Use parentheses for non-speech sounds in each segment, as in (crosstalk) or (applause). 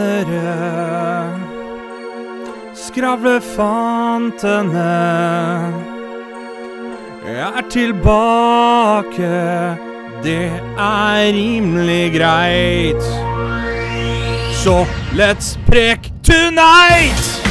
Skravlianere. Skravlefantene. Jeg er tilbake. Det er rimelig greit. Så let's prek tonight!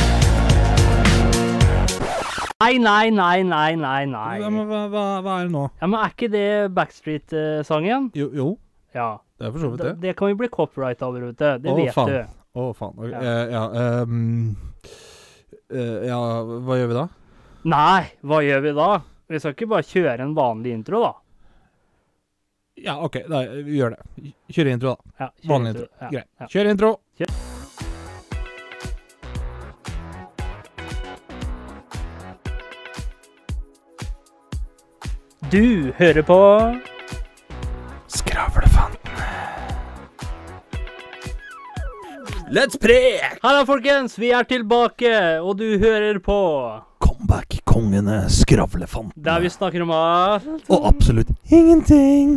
Nei, nei, nei, nei, nei, nei. Ja, men hva, hva, hva er det nå? Ja, men er ikke det Backstreet-sangen? Jo, jo Ja. det er for så vidt Det, det. det kan vi bli copyright over, vet du. Det Å, vet faen. du. Å, faen. Ok, Ja. eh, ja, ehm, eh, ja, hva gjør vi da? Nei, hva gjør vi da? Vi skal ikke bare kjøre en vanlig intro, da. Ja, OK, da, vi gjør det. Kjør intro, da. Ja, kjør Vanlig intro. Ja, Greit. ja. Kjør intro. Kjør. Du hører på Skravlefantene. Let's prek! Halla, folkens! Vi er tilbake, og du hører på Comeback-kongene Skravlefantene. Der vi snakker om alt. Og absolutt ingenting.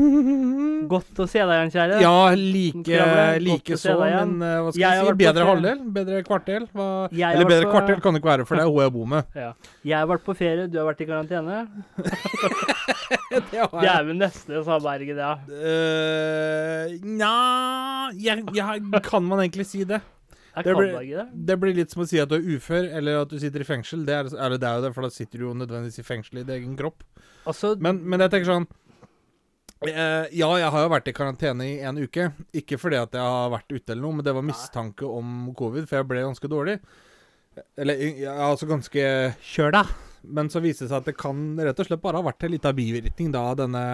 Godt å se deg igjen, kjære. Ja, like, Skravle, godt like å se så, deg igjen. men eh, hva skal Jeg jeg har si? vært på Bedre ferie. halvdel? Bedre kvartel? Hva? Jeg har Eller vært bedre på- kvartel kan det ikke være, for det er hun jeg bor (laughs) med. Ja. Jeg har vært på ferie, du har vært i karantene. Det Det er vel neste, sa Berget, ja. Eh, Nja jeg, jeg, Kan man egentlig si det? Jeg Det kan blir- da ikke det. Det blir litt som å si at du er ufør, eller at du sitter i fengsel. Det er, eller det er jo det, for da sitter du jo nødvendigvis i fengsel i din egen kropp. Altså, Men, men jeg tenker sånn eh, Ja, jeg har jo vært i karantene i en uke. Ikke fordi at jeg har vært ute eller noe, men det var mistanke om covid, for jeg ble ganske dårlig. Eller ja, altså ganske kjøla. Men så viser det seg at det kan rett og slett bare ha vært en liten bivirkning da, av denne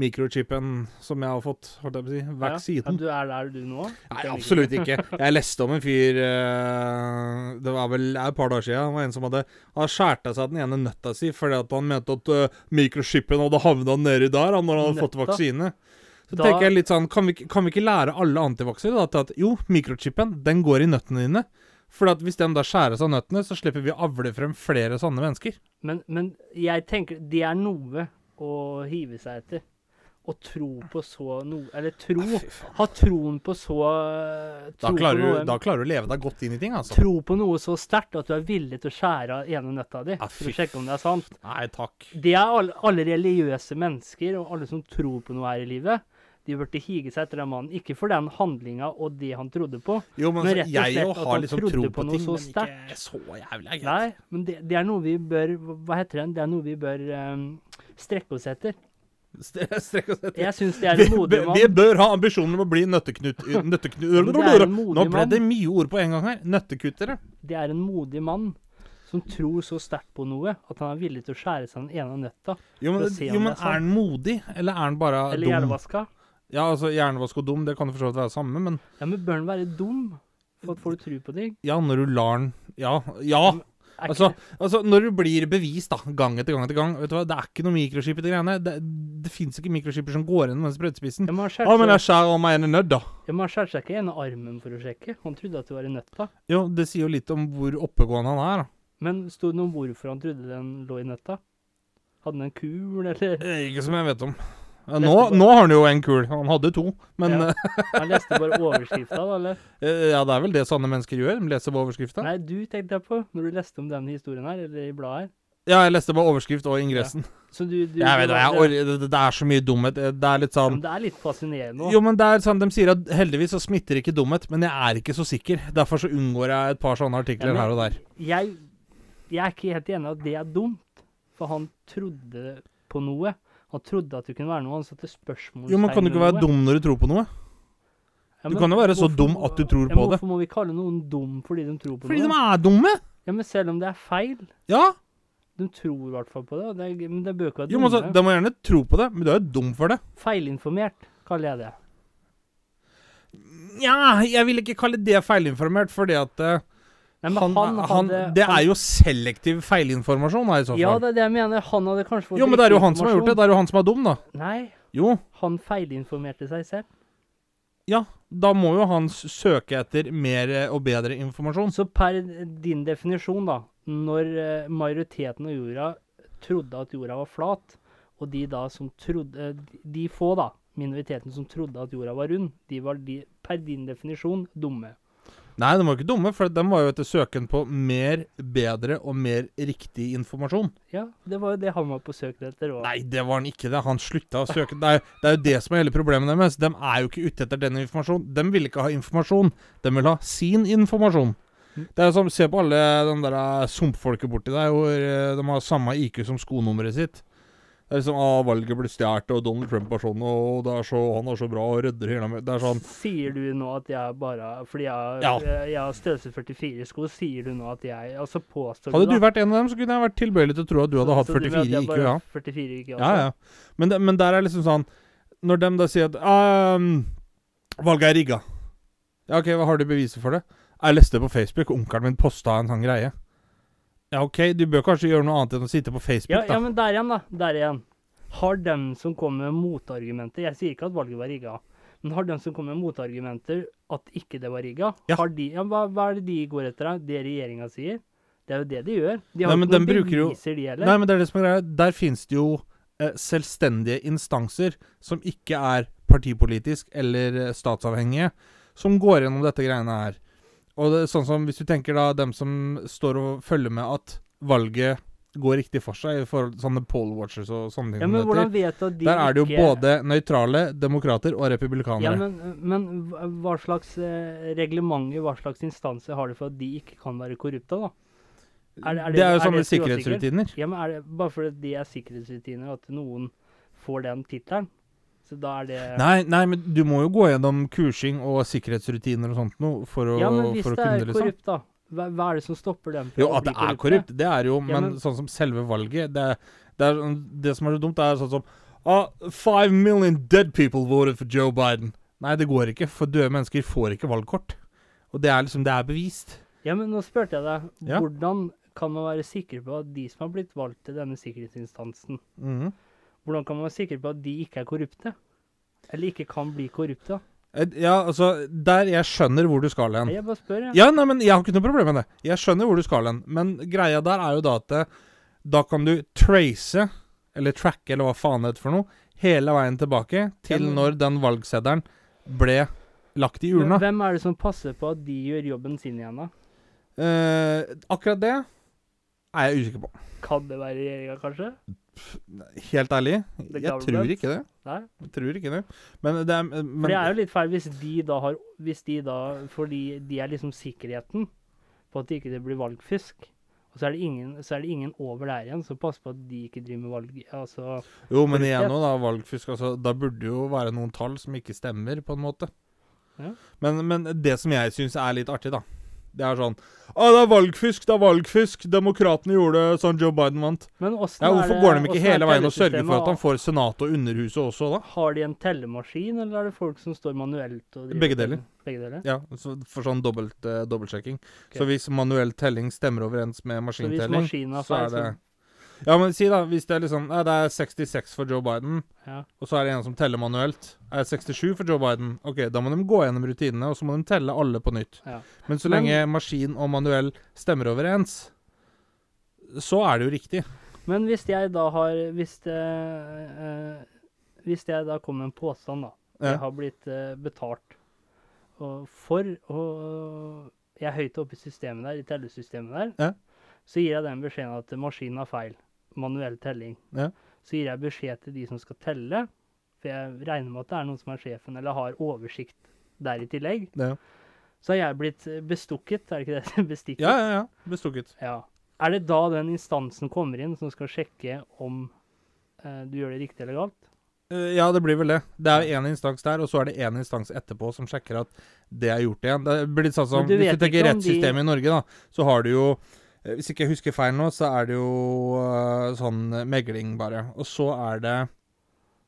mikrochipen som jeg har fått, holdt jeg på å si, Ja, vaksinen. du er der du nå? Nei, absolutt ikke. Jeg leste om en fyr eh, Det var vel det er et par dager siden. Det var en som hadde Han skjærte av seg den ene nøtta si fordi at han mente at uh, mikrochipen hadde havna nedi der han, når han hadde fått Nøtta? vaksine. Så Da- tenker jeg litt sånn Kan vi, ikke- kan vi ikke lære alle antivaksere da, til at jo, mikrochipen, den går i nøttene dine? For at hvis de da skjæres av nøttene, så slipper vi å avle frem flere sånne mennesker. Men, men jeg tenker det er noe å hive seg etter. Å tro på så noe Eller tro Ha troen på så Oh, eh, Da tro klarer, på du, noe, da klarer du å leve deg godt inn i ting, altså. Tro på noe så sterkt at du er villig til å skjære av ene nøtta di Ja, for å fy sjekke om det er sant. Nei takk. Det er alle, alle religiøse mennesker og alle som tror på noe her i livet. De burde hige seg etter den mannen, ikke for den handlinga og det han trodde på. Jo, men, Men altså, rett og jeg slett jo at har han liksom trodde tro på på noe ting, så men ikke så jævlig. er greit. Nei, men det, det er noe vi bør Hva heter den? Det er noe vi bør eh, strekke oss etter. St- Strekk oss etter. Jeg syns det er Vi, en modig vi- vi mann. bør ha ambisjoner om å bli (laughs) nøtteknut... nøtteknut Men det er en modig Nå ble mann. det mye ord på en gang her. Nøttekuttere. Det er en modig mann som tror så sterkt på noe at han er villig til å skjære seg den ene nøtta. Jo, men, Skal se om jo, men det er er han modig, eller er han bare Eller dum? hjernevaska. Ja, altså, Hjernevask og dum, det kan jo for så vidt være samme, men Ja, men bør han være dum for at folk tror på ting? ja, når du lar han Ja. ja. Er Altså, ikke, altså, når du blir bevist, da, gang etter gang etter gang Vet du hva, Det er ikke noe mikroskip i de greiene. Det, det fins ikke mikroskiper som går gjennom den sprøytespissen. ja, men han Å, skjærte men seg- jeg skjærer av meg en nødd, da. ja, men han skjærte seg ikke gjennom armen for å sjekke. Han trodde at det var i nøtta. Jo, det sier jo litt om hvor oppegående han er, da. Men sto det noe om hvorfor han trodde den lå i nøtta? Hadde han en kul, eller Eh, Ikke som jeg vet om. Eh, Neste Nå, bare- nå har han jo en kul. Han hadde to, men Ja. Han leste bare overskrifta, da, eller? (laughs) Eh, Ja, det er vel det sanne mennesker gjør. De leser bare overskrifta. Nei, du tenkte jeg på når du leste om denne historien her, eller i bladet her. Ja, jeg leste bare overskrift og ingressen. Så du, du Jeg vet du- da, jeg, det- orker- det, det er så mye dumhet. Eh, Det er litt Ja, men sånn Det er litt fascinerende Jo, òg. men det er sånn, De sier at heldigvis så smitter ikke dumhet, men jeg er ikke så sikker. Derfor så unngår jeg et par sånne artikler Ja, men- her og der. Jeg, jeg er ikke helt enig i at det er dumt, for han trodde på noe. Han trodde at det kunne være noe, han satte spørsmålstegn Jo, men kan du ikke være dum når du tror på noe? Du kan jo være så dum at du tror på det. Hvorfor må vi kalle noen dum fordi de tror på Fordi de noe? er dumme! Ja, men selv om det er feil, Ja! de tror i hvert fall på det. og det er, men det bør ikke være Jo, men altså, dumme. De må gjerne tro på det, men du er jo dum for det. Feilinformert, kaller jeg det. Nja, jeg vil ikke kalle det feilinformert, fordi at eh, Nei, men han, han, hadde- Det han- er jo selektiv feilinformasjon, da, i så fall. Ja, det er det jeg mener. Han hadde kanskje fått jo, men det er jo han som har gjort det. riktig Det er jo han som er dum, da. informasjon. Nei, Jo, han feilinformerte seg selv. ja. Da må jo han s- søke etter mer eh, og bedre informasjon. Så per din definisjon, da, når eh, majoriteten av jorda trodde at jorda var flat, og de da som trodde eh, De få, da, minoriteten som trodde at jorda var rund, de var de, per din definisjon dumme. Nei, de var ikke dumme, for de var jo etter søken på mer, bedre og mer riktig informasjon. Ja, det var jo det han var på søk etter òg. Nei, det var han ikke. det. Han slutta å søke. Det er, det er jo det som er hele problemet deres. De er jo ikke ute etter den informasjonen. De vil ikke ha informasjon. De vil ha sin informasjon. Det er jo som, Se på alle den der eh, sumpfolket borti der, hvor eh, de har samme IQ som skonummeret sitt. Det er liksom ah, 'Valget ble stjålet, og Donald Trump er sånn, og det er så, han er så bra, og redder hele meg. Det er sånn Sier du nå at jeg bare Fordi jeg, Ja. jeg har størrelse 44 sko, sier du nå at jeg Altså påstår Hadde da- du vært en av dem, så kunne jeg vært tilbøyelig til å tro at du hadde hatt Så du mener at 44 jeg IQ. bare ja. har 44 IQ, Ja, ja. Men, det- men der er liksom sånn Når de da sier at «Ehm, Valget er rigga. Ja, OK, hva har du beviser for det? Jeg leste på Facebook, onkelen min posta en sånn greie. Ja, OK, du bør kanskje gjøre noe annet enn å sitte på Facebook, Ja, ja, da. men der igjen, da. Der igjen. Har dem som kommer med motargumenter Jeg sier ikke at valget var rigga, men har dem som kommer med motargumenter at ikke det var rigga Ja. har de, ja, hva, hva er det de går etter, da? Det regjeringa sier? Det er jo det de gjør. Nei, De har jo men ikke dem noen bruker jo- beviser, de heller. Nei, men det er det som er greia. Der finnes det jo eh, selvstendige instanser som ikke er partipolitisk eller eh, statsavhengige, som går gjennom dette greiene her. Og det er sånn som hvis du tenker da dem som står og følger med at valget går riktig for seg, i forhold til sånne poll watchers og sånne ting ja, som men det hvordan heter. vet du at de Der er det jo ikke både nøytrale, demokrater og ja, republikanere. men, men hva- hva slags eh, reglementer, hva slags instanser har de for at de ikke kan være korrupte, da? er det- er det- det, er er jo sånne det skråsikkert? sikkerhetsrutiner. Ja, men er det bare fordi de er sikkerhetsrutiner at noen får den tittelen? Så da er det Nei, nei, men du må jo gå gjennom kursing og sikkerhetsrutiner og sånt noe for å, Ja, men hvis for å det kunne er liksom. korrupt, da? Hva, hva er det som stopper dem? fra Jo, å at bli det er korrupte? korrupt, det er det jo, men, men- sånn som selve valget Det, er- det, er, sånn- det som er så dumt, det er sånn som ah, Five million dead people voted for Joe Biden. Nei, det går ikke, for døde mennesker får ikke valgkort. Og det er liksom Det er bevist. Ja, men nå spurte jeg deg. Ja. Hvordan kan man være sikker på at de som har blitt valgt til denne sikkerhetsinstansen, Mhm. hvordan kan man være sikker på at de ikke er korrupte? Eller ikke kan bli korrupte? Eh, Ja, altså Der jeg skjønner hvor du skal hen. Jeg bare spør, jeg. Ja, nei, men jeg har ikke noe problem med det. Jeg skjønner hvor du skal hen. Men greia der er jo da at eh, da kan du trace, eller tracke, eller hva faen det heter for noe, hele veien tilbake til Ja, men- når den valgseddelen ble lagt i urna. Men Hvem er det som passer på at de gjør jobben sin igjen, da? Eh, akkurat det er jeg usikker på. Kan det være regjeringa, kanskje? Helt ærlig, The jeg tror government? ikke det. Nei? Jeg tror ikke det. Men det er, eh, men, For det er jo litt feil hvis de da har Hvis de da Fordi de er liksom sikkerheten på at det ikke blir valgfisk. Og så er, det ingen, så er det ingen over der igjen som passer på at de ikke driver med valg. Altså, jo, men korruptet. igjen nå, da, valgfusk altså, Da burde jo være noen tall som ikke stemmer, på en måte. Ja. Men, men det som jeg syns er litt artig, da, det er sånn Å, det er valgfusk, det er valgfusk. Demokratene gjorde det sånn Joe Biden vant. men åssen Ja, er Hvorfor det går de ikke åssen er hele veien og sørger tellesystemet? for at han får Senatet og Underhuset også, da? Har de en tellemaskin, eller er det folk som står manuelt og driver Begge og teller? deler. Begge deler? Ja, så for sånn dobbelt, eh, dobbeltsjekking. Ok. Så hvis manuell telling stemmer overens med Så hvis maskintelling maskinen er så feil, er det Ja, men si da, hvis det er liksom Nei, det er 66 for Joe Biden, ja. og så er det en som teller manuelt. Er det 67 for Joe Biden? OK, da må de gå gjennom rutinene, og så må de telle alle på nytt. Ja. Men så Men- lenge maskin og manuell stemmer overens, så er det jo riktig. Men hvis jeg da har Hvis, det, eh, hvis jeg da kommer med en påstand, da. Ja. Jeg har blitt eh, betalt og for å Jeg er høyt oppe i systemet der, i tellesystemet der. Ja. Så gir jeg den beskjeden at maskinen har feil. Manuell telling. Ja. Så gir jeg beskjed til de som skal telle, for jeg regner med at det er noen som er sjefen eller har oversikt der i tillegg. Ja, Så har jeg blitt eh, bestukket, er det ikke det? (laughs) Bestikket. ja, ja. ja. Bestukket. Ja. Er det da den instansen kommer inn som skal sjekke om eh, du gjør det riktig eller galt? Eh, Ja, det blir vel det. Det er jo én instans der, og så er det én instans etterpå som sjekker at det er gjort igjen. Det blir litt sånn som Men du Hvis vet du tenker ikke om de- rettssystemet i Norge, da, så har du jo eh, Hvis ikke jeg husker feil nå, så er det jo eh, sånn eh, megling, bare. Og så er det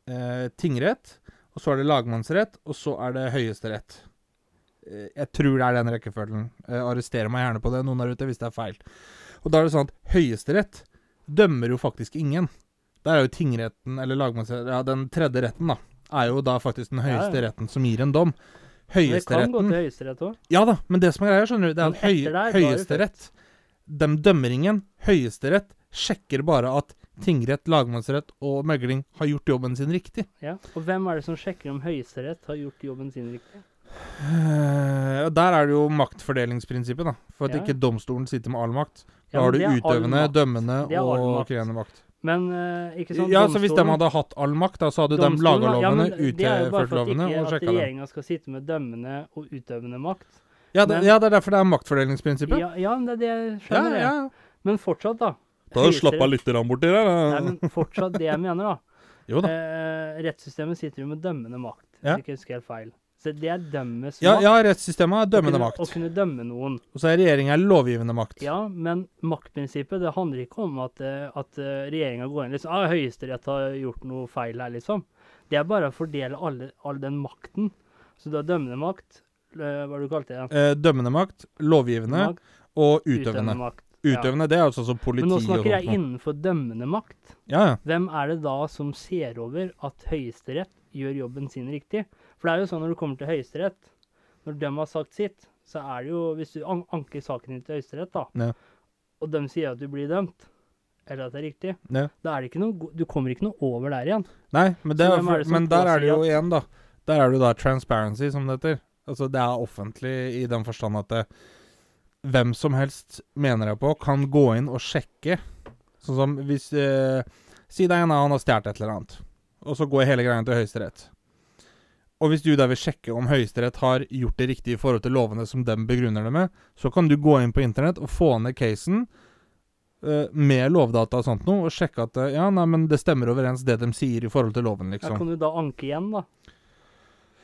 eh, tingrett, og så er det lagmannsrett, og så er det høyesterett. Eh, Jeg tror det er den rekkefølgen. Eh, Arrester meg gjerne på det, noen der ute, hvis det er feil. Og da er det sånn at Høyesterett dømmer jo faktisk ingen. Der er jo tingretten, eller lagmannsretten Ja, den tredje retten, da, er jo da faktisk den ja. høyeste retten som gir en dom. Men Det kan gå Høyesteretten til Høyesterett òg. Ja da, men det som er greia, skjønner du, det er Men at høy, etter der, da er det Høyesterett De dømmer ingen. Høyesterett sjekker bare at tingrett, lagmannsrett og megling har gjort jobben sin riktig. Ja. Og hvem er det som sjekker om Høyesterett har gjort jobben sin riktig? Eh, og Der er det jo maktfordelingsprinsippet, da. For at Ja. ikke domstolen sitter med all makt. Da Ja, har men du det er all utøvende, makt. dømmende Det er all og makt. krevende makt. Men eh, ikke sant, Ja, så hvis de domstolen- hadde hatt all makt, da, så hadde de laga domstolen, da- ja, lovene, men Det er jo bare utført for at lovene og ikke at sjekka dem. regjeringa skal sitte med dømmende og utøvende makt. Ja, det, men- ja, det er derfor det er maktfordelingsprinsippet. Ja, ja men det er det jeg Ja, skjønner. ja. jeg. Men fortsatt, da. Da slapp Høyesterett- av litt grann borti der. da. Nei, men fortsatt det jeg mener, da. Jo da. Eh, rettssystemet sitter jo med dømmende makt, hvis Ja. jeg ikke husker helt feil. Så det er dømmes Ja, makt. ja, rettssystemet er dømmende å kunne, Å makt. kunne dømme noen. Og så er regjeringa lovgivende makt. Ja, men maktprinsippet det handler ikke om at, eh, at regjeringa går inn liksom, ah, Høyesterett har gjort noe feil her, liksom. Det er bare å fordele alle, all den makten. Så du har dømmende makt eh, Hva du kalte det? Eh, dømmende makt, lovgivende Makt, og utøvende. makt. ja. Utøvende, det er altså som politi Men nå og sånt. snakker jeg noe. innenfor dømmende makt. Ja, ja. Hvem er det da som ser over at Høyesterett gjør jobben sin riktig? For det er jo sånn når du kommer til Høyesterett, når de har sagt sitt, så er det jo Hvis du an anker saken din til Høyesterett, da, Ja. og de sier at du blir dømt, eller at det er riktig, Ja. da er det ikke noe go- Du kommer ikke noe over der igjen. Nei, men, det, Så er hvem er det for, som men der er det jo påsier igjen, da. Der er det jo da transparency, som det heter. Altså, det er offentlig i den forstand at det, hvem som helst, mener jeg på, kan gå inn og sjekke. Sånn som hvis eh, Si det er en av han har stjålet et eller annet, og så går hele greia til Høyesterett. Og hvis du da vil sjekke om Høyesterett har gjort det riktig i forhold til lovene som dem begrunner det med, så kan du gå inn på internett og få ned casen eh, med lovdata og sånt noe, og sjekke at eh, ja, nei, men det stemmer overens det de sier i forhold til loven, Ja, liksom. kan du da anke igjen, da?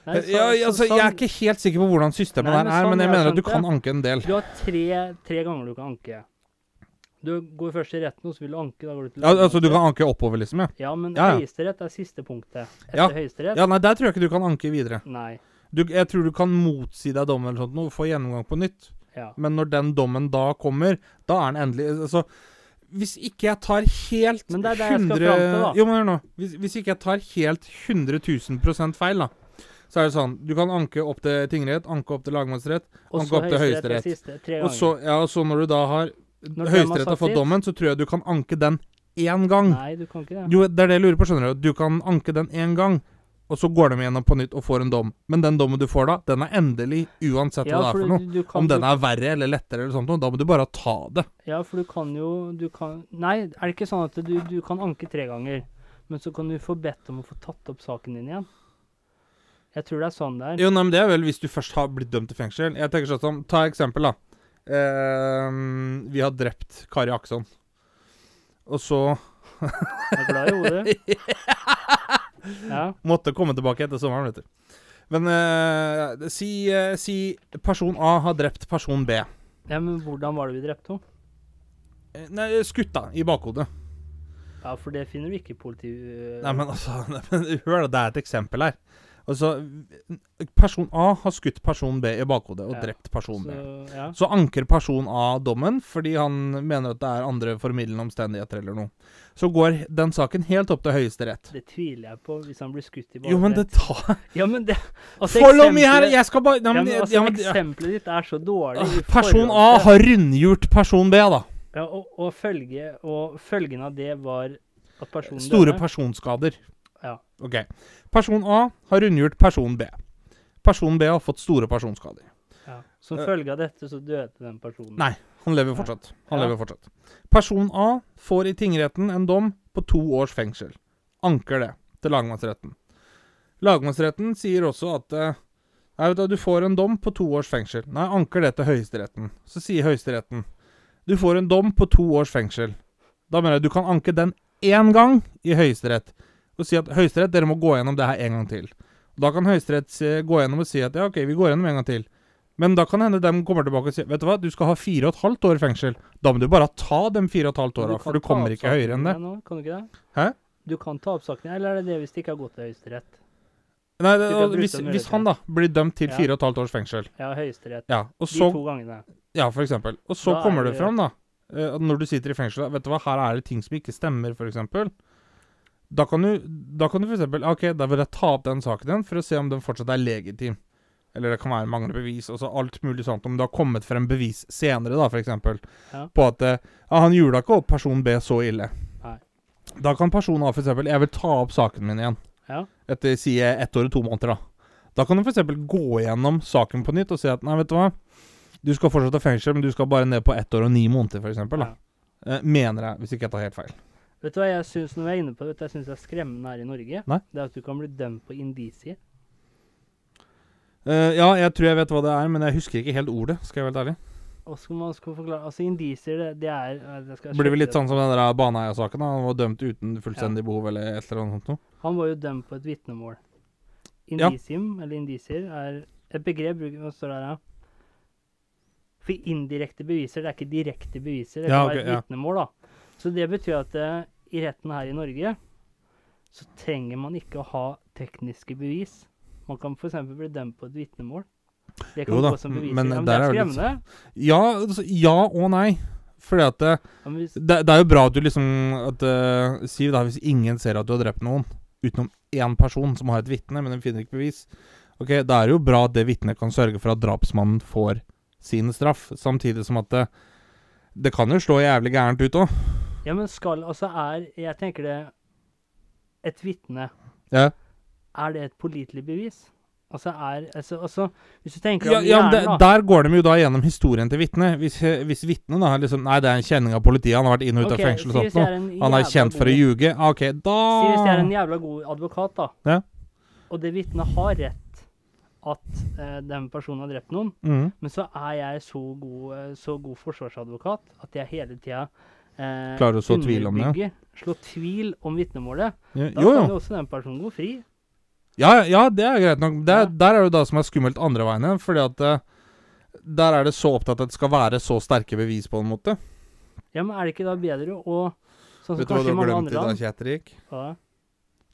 Nei, så- Ja, ja, så altså, jeg er sånn- ikke helt sikker på hvordan systemet Nei, men der er, sånn men jeg jeg mener at du skjønte. kan anke en del. sånn, Du har tre, tre ganger du kan anke. Du går først til retten, og så vil du anke. Da går du til Ja, altså, du lagmannsretten. kan anke oppover, liksom, ja. Ja, men Ja, ja. Høyesterett er siste punktet. Etter Ja. Høyesterett? Ja, nei, der tror jeg ikke du kan anke videre. Nei. Du, jeg tror du kan motsi deg dommen eller sånt noe, få gjennomgang på nytt. Ja. Men når den dommen da kommer, da er den endelig Altså, hvis ikke jeg tar helt Men det er der jeg skal fram til, da. Jo, men hør nå. Hvis, hvis ikke jeg tar helt 100 000 feil, da, så er det sånn Du kan anke opp til tingrett, anke opp til lagmannsrett, Og anke så opp til Høyesterett er Høyesterett. siste. Tre Og ganger. så, ja, og så når du da har Når de har Høyesterett har satt fått sitt. dommen, så tror jeg du kan anke den én gang. Nei, du kan ikke det. Jo, det er det jeg lurer på, skjønner du. Du kan anke den én gang, og så går de igjennom på nytt og får en dom. Men den dommen du får da, den er endelig, uansett ja, hva det er for for noe. du, du kan, Om jo- den er verre eller lettere eller sånt noe, da må du bare ta det. Ja, for du kan jo du kan, Nei, er det ikke sånn at du, du kan anke tre ganger, men så kan du få bedt om å få tatt opp saken din igjen? Jeg tror det er sånn det er. Jo, nei, men det er vel hvis du først har blitt dømt til fengsel. Jeg tenker sånn som Ta eksempel, da. Ehm, vi har drept Kari Akson. Og så Jeg er glad (laughs) i hodet. Ja. måtte komme tilbake etter sommeren, vet du. Men eh, si, eh, si person A har drept person B. ja, men hvordan var det vi drepte henne? Eh, Nei, skutt, da. I bakhodet. Ja, for det finner du ikke i øh, politiet. Nei, men altså (laughs) nei, men, Hør, da. Det er et eksempel her. Altså, person A har skutt person B i bakhodet og Ja, drept person B. så, ja. Så anker person A dommen fordi han mener at det er andre formildende omstendigheter eller noe. Så går den saken helt opp til Høyesterett. Det tviler jeg på, hvis han blir skutt i bakhodet. Jo, men det tar Ja, men det altså, Follow me her! eksempelet- Jeg skal bare Nei, ja, men, men, altså, ja, men, Ah, Eksempelet ditt er så dårlig. i Person A forhold til- har rundgjort person B, da. ja, og, og, følge, og følgen av det var at personen Store døde. personskader. Ja. Ok. Person A har rundgjort person B. Person B har fått store personskader. ja. Som Eh. følge av dette så døde den personen. Nei. Han lever fortsatt. Han Ja. lever fortsatt. Person A får i tingretten en dom på to års fengsel. Anker det til lagmannsretten. Lagmannsretten sier også at eh, Nei, vet du, du får en dom på to års fengsel. Nei, anker det til Høyesteretten. Så sier Høyesteretten Du får en dom på to års fengsel. Da mener jeg du kan anke den én gang i Høyesterett og si at Høyesterett, dere må gå gjennom det her en gang til. Da kan Høyesterett se- gå gjennom og si at ja, OK, vi går gjennom en gang til. Men da kan hende de kommer tilbake og sier Vet du hva, du skal ha fire og et halvt år i fengsel. Da må du bare ta de fire og et halvt Men åra, kan for du ta kommer opp ikke høyere enn det. saken igjen Nå, kan du ikke det? Hæ? Du kan ta opp saken, eller er det det hvis det ikke har gått til Høyesterett? Nei, det, Du kan og bruke hvis, den hvis muligheten. han da blir dømt til Ja. fire og et halvt års fengsel, Ja, Høyesterett. ja, og De så to gangene. Ja, for eksempel. Og så Da er kommer det det- fram, da. eh, at Når du sitter i fengsel Vet du hva, her er det ting som ikke stemmer, for eksempel. Da kan du, da kan du for eksempel OK, da vil jeg ta opp den saken igjen for å se om den fortsatt er legitim. Eller det kan være manglende bevis, altså alt mulig sånt. Om det har kommet frem bevis senere, da, for eksempel. Ja. På at eh, ja, han jula ikke opp person B så ille. Nei. Da kan person A f.eks. Jeg vil ta opp saken min igjen. Ja. Etter si ett år og to måneder, da. Da kan du f.eks. gå gjennom saken på nytt og si at nei, vet du hva. Du skal fortsatt ha fengsel, men du skal bare ned på ett år og ni måneder, f.eks. Ja. da. Eh, Mener jeg, hvis ikke jeg tar helt feil. Vet du hva jeg syns når vi er inne på det, vet du, hva jeg synes er skremmende her i Norge? Nei. Det er at du kan bli dømt på indisier. Eh, ja, jeg tror jeg vet hva det er, men jeg husker ikke helt ordet, skal jeg være helt ærlig. Og skal man skal forklare Altså, indisier, det, det er eh, det skal jeg Blir vel sjekke litt det. sånn som den der Baneheia-saken. da. Han var dømt uten fullstendig behov eller et eller annet sånt noe. Han var jo dømt på et vitnemål. Ja. Indisium, eller indisier, er et begrep bruker Hva står det her, da? For indirekte beviser, det er ikke direkte beviser. Det Ja, kan ok, være et ja. vitnemål, da. Så det betyr at eh, i retten her i Norge så trenger man ikke å ha tekniske bevis. Man kan f.eks. bli dømt på et vitnemål. Det kan Jo da, gå som m- beviser. men ja, men det der er er det litt- skremmende. Ja, altså, ja og nei. Fordi at eh, det, Ja, men hvis, det, det er jo bra at du liksom at, eh, Siv, da, hvis ingen ser at du har drept noen, utenom én person som har et vitne, men den finner ikke bevis, Ok, da er det jo bra at det vitnet kan sørge for at drapsmannen får sin straff. Samtidig som at det, det kan jo slå jævlig gærent ut òg. ja, men skal Altså er Jeg tenker det Et vitne Ja. er det et pålitelig bevis? Altså, er, altså, altså Hvis du tenker Ja, om ja, men det, hjernen, da. der går de jo da gjennom historien til vitnet. Hvis, hvis vitnet da er liksom Nei, det er en kjenning av politiet, han har vært inn og ut Ok, av fengsel og si hvis sånt jeg noe. er en Han er jævla kjent for å god- ljuge. Ah, OK, da Si hvis jeg er en jævla god advokat, da, Ja. og det vitnet har rett at eh, den personen har drept noen, Mhm. men så er jeg så god, eh, så god forsvarsadvokat at jeg hele tida eh, Klarer å så tvil om det, ja. underbygger, Slå tvil om vitnemålet. Ja, Da Jo, kan jo. jo også den personen gå fri. Ja, ja, det er greit nok. Det, Ja. Der er det jo det som er skummelt andre veien igjen, fordi at eh, der er det så opptatt at det skal være så sterke bevis, på en måte. Ja, men er det ikke da bedre å Sånn som Vet du hva du kanskje har i mange glemt i andre dag, land. Kjetrik? Ja,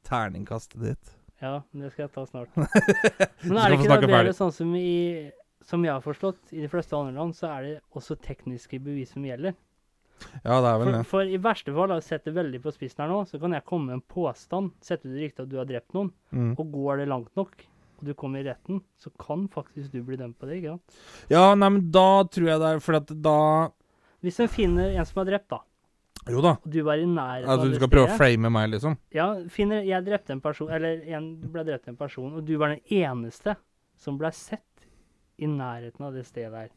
Terningkastet ditt. ja, det skal jeg ta snart. (laughs) Men skal er det få ikke da snakke bedre ferdig. sånn som i Som jeg har forstått, i de fleste andre land, så er det også tekniske bevis som gjelder. Ja, det er vel For, det. for i verste fall, da, sett det veldig på spissen her nå, så kan jeg komme med en påstand, sette ut ryktet at du har drept noen, Mm. og går det langt nok, og du kommer i retten, så kan faktisk du bli dømt på det, ikke sant? Ja, nei, men da tror jeg det er fordi at da Hvis en finner en som er drept, da, Jo da. og du var i nærheten Altså, av du det skal prøve å stedet- frame meg, liksom. Ja, finner jeg drepte en person, eller en ble drept en person, og du var den eneste som ble sett i nærheten av det stedet der.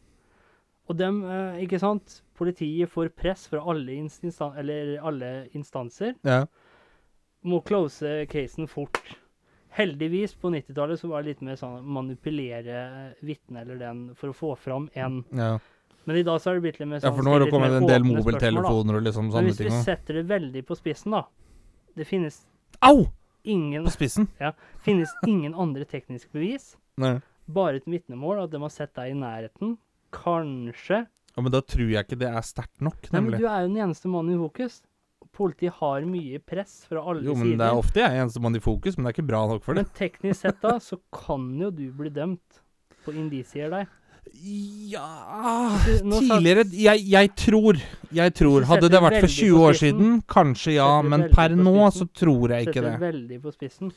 Og dem, eh, ikke sant, politiet får press fra alle, inst- instan eller alle instanser, Ja. må close casen fort. Heldigvis, på 90-tallet så var det litt mer sånn manipulere vitnet eller den for å få fram en Ja. Men i dag så har det blitt litt mer sånn ja, for nå har stilt det kommet litt en mer del åpne spørsmål, da. mobiltelefoner og liksom Men sånne hvis ting vi òg. setter det veldig på spissen, da Det finnes Au! ingen På spissen. Ja. Finnes ingen andre tekniske bevis, Nei. bare et vitnemål, at de har sett deg i nærheten. Kanskje. Ja, men da tror jeg ikke det er sterkt nok, Nei, men nemlig. du er jo den eneste mannen i fokus. Politiet har mye press fra alle Jo, men sider. det er ofte jeg er eneste mann i fokus, men det er ikke bra nok for det. Men teknisk sett da, så kan jo du bli dømt på indisier der. Ja Du, nå sa- (laughs) Tidligere jeg, jeg tror Jeg tror Du Hadde setter det vært for veldig 20 på år spissen. siden, kanskje ja, Setter men veldig per på nå så spissen. tror jeg ikke Setter det. veldig på spissen.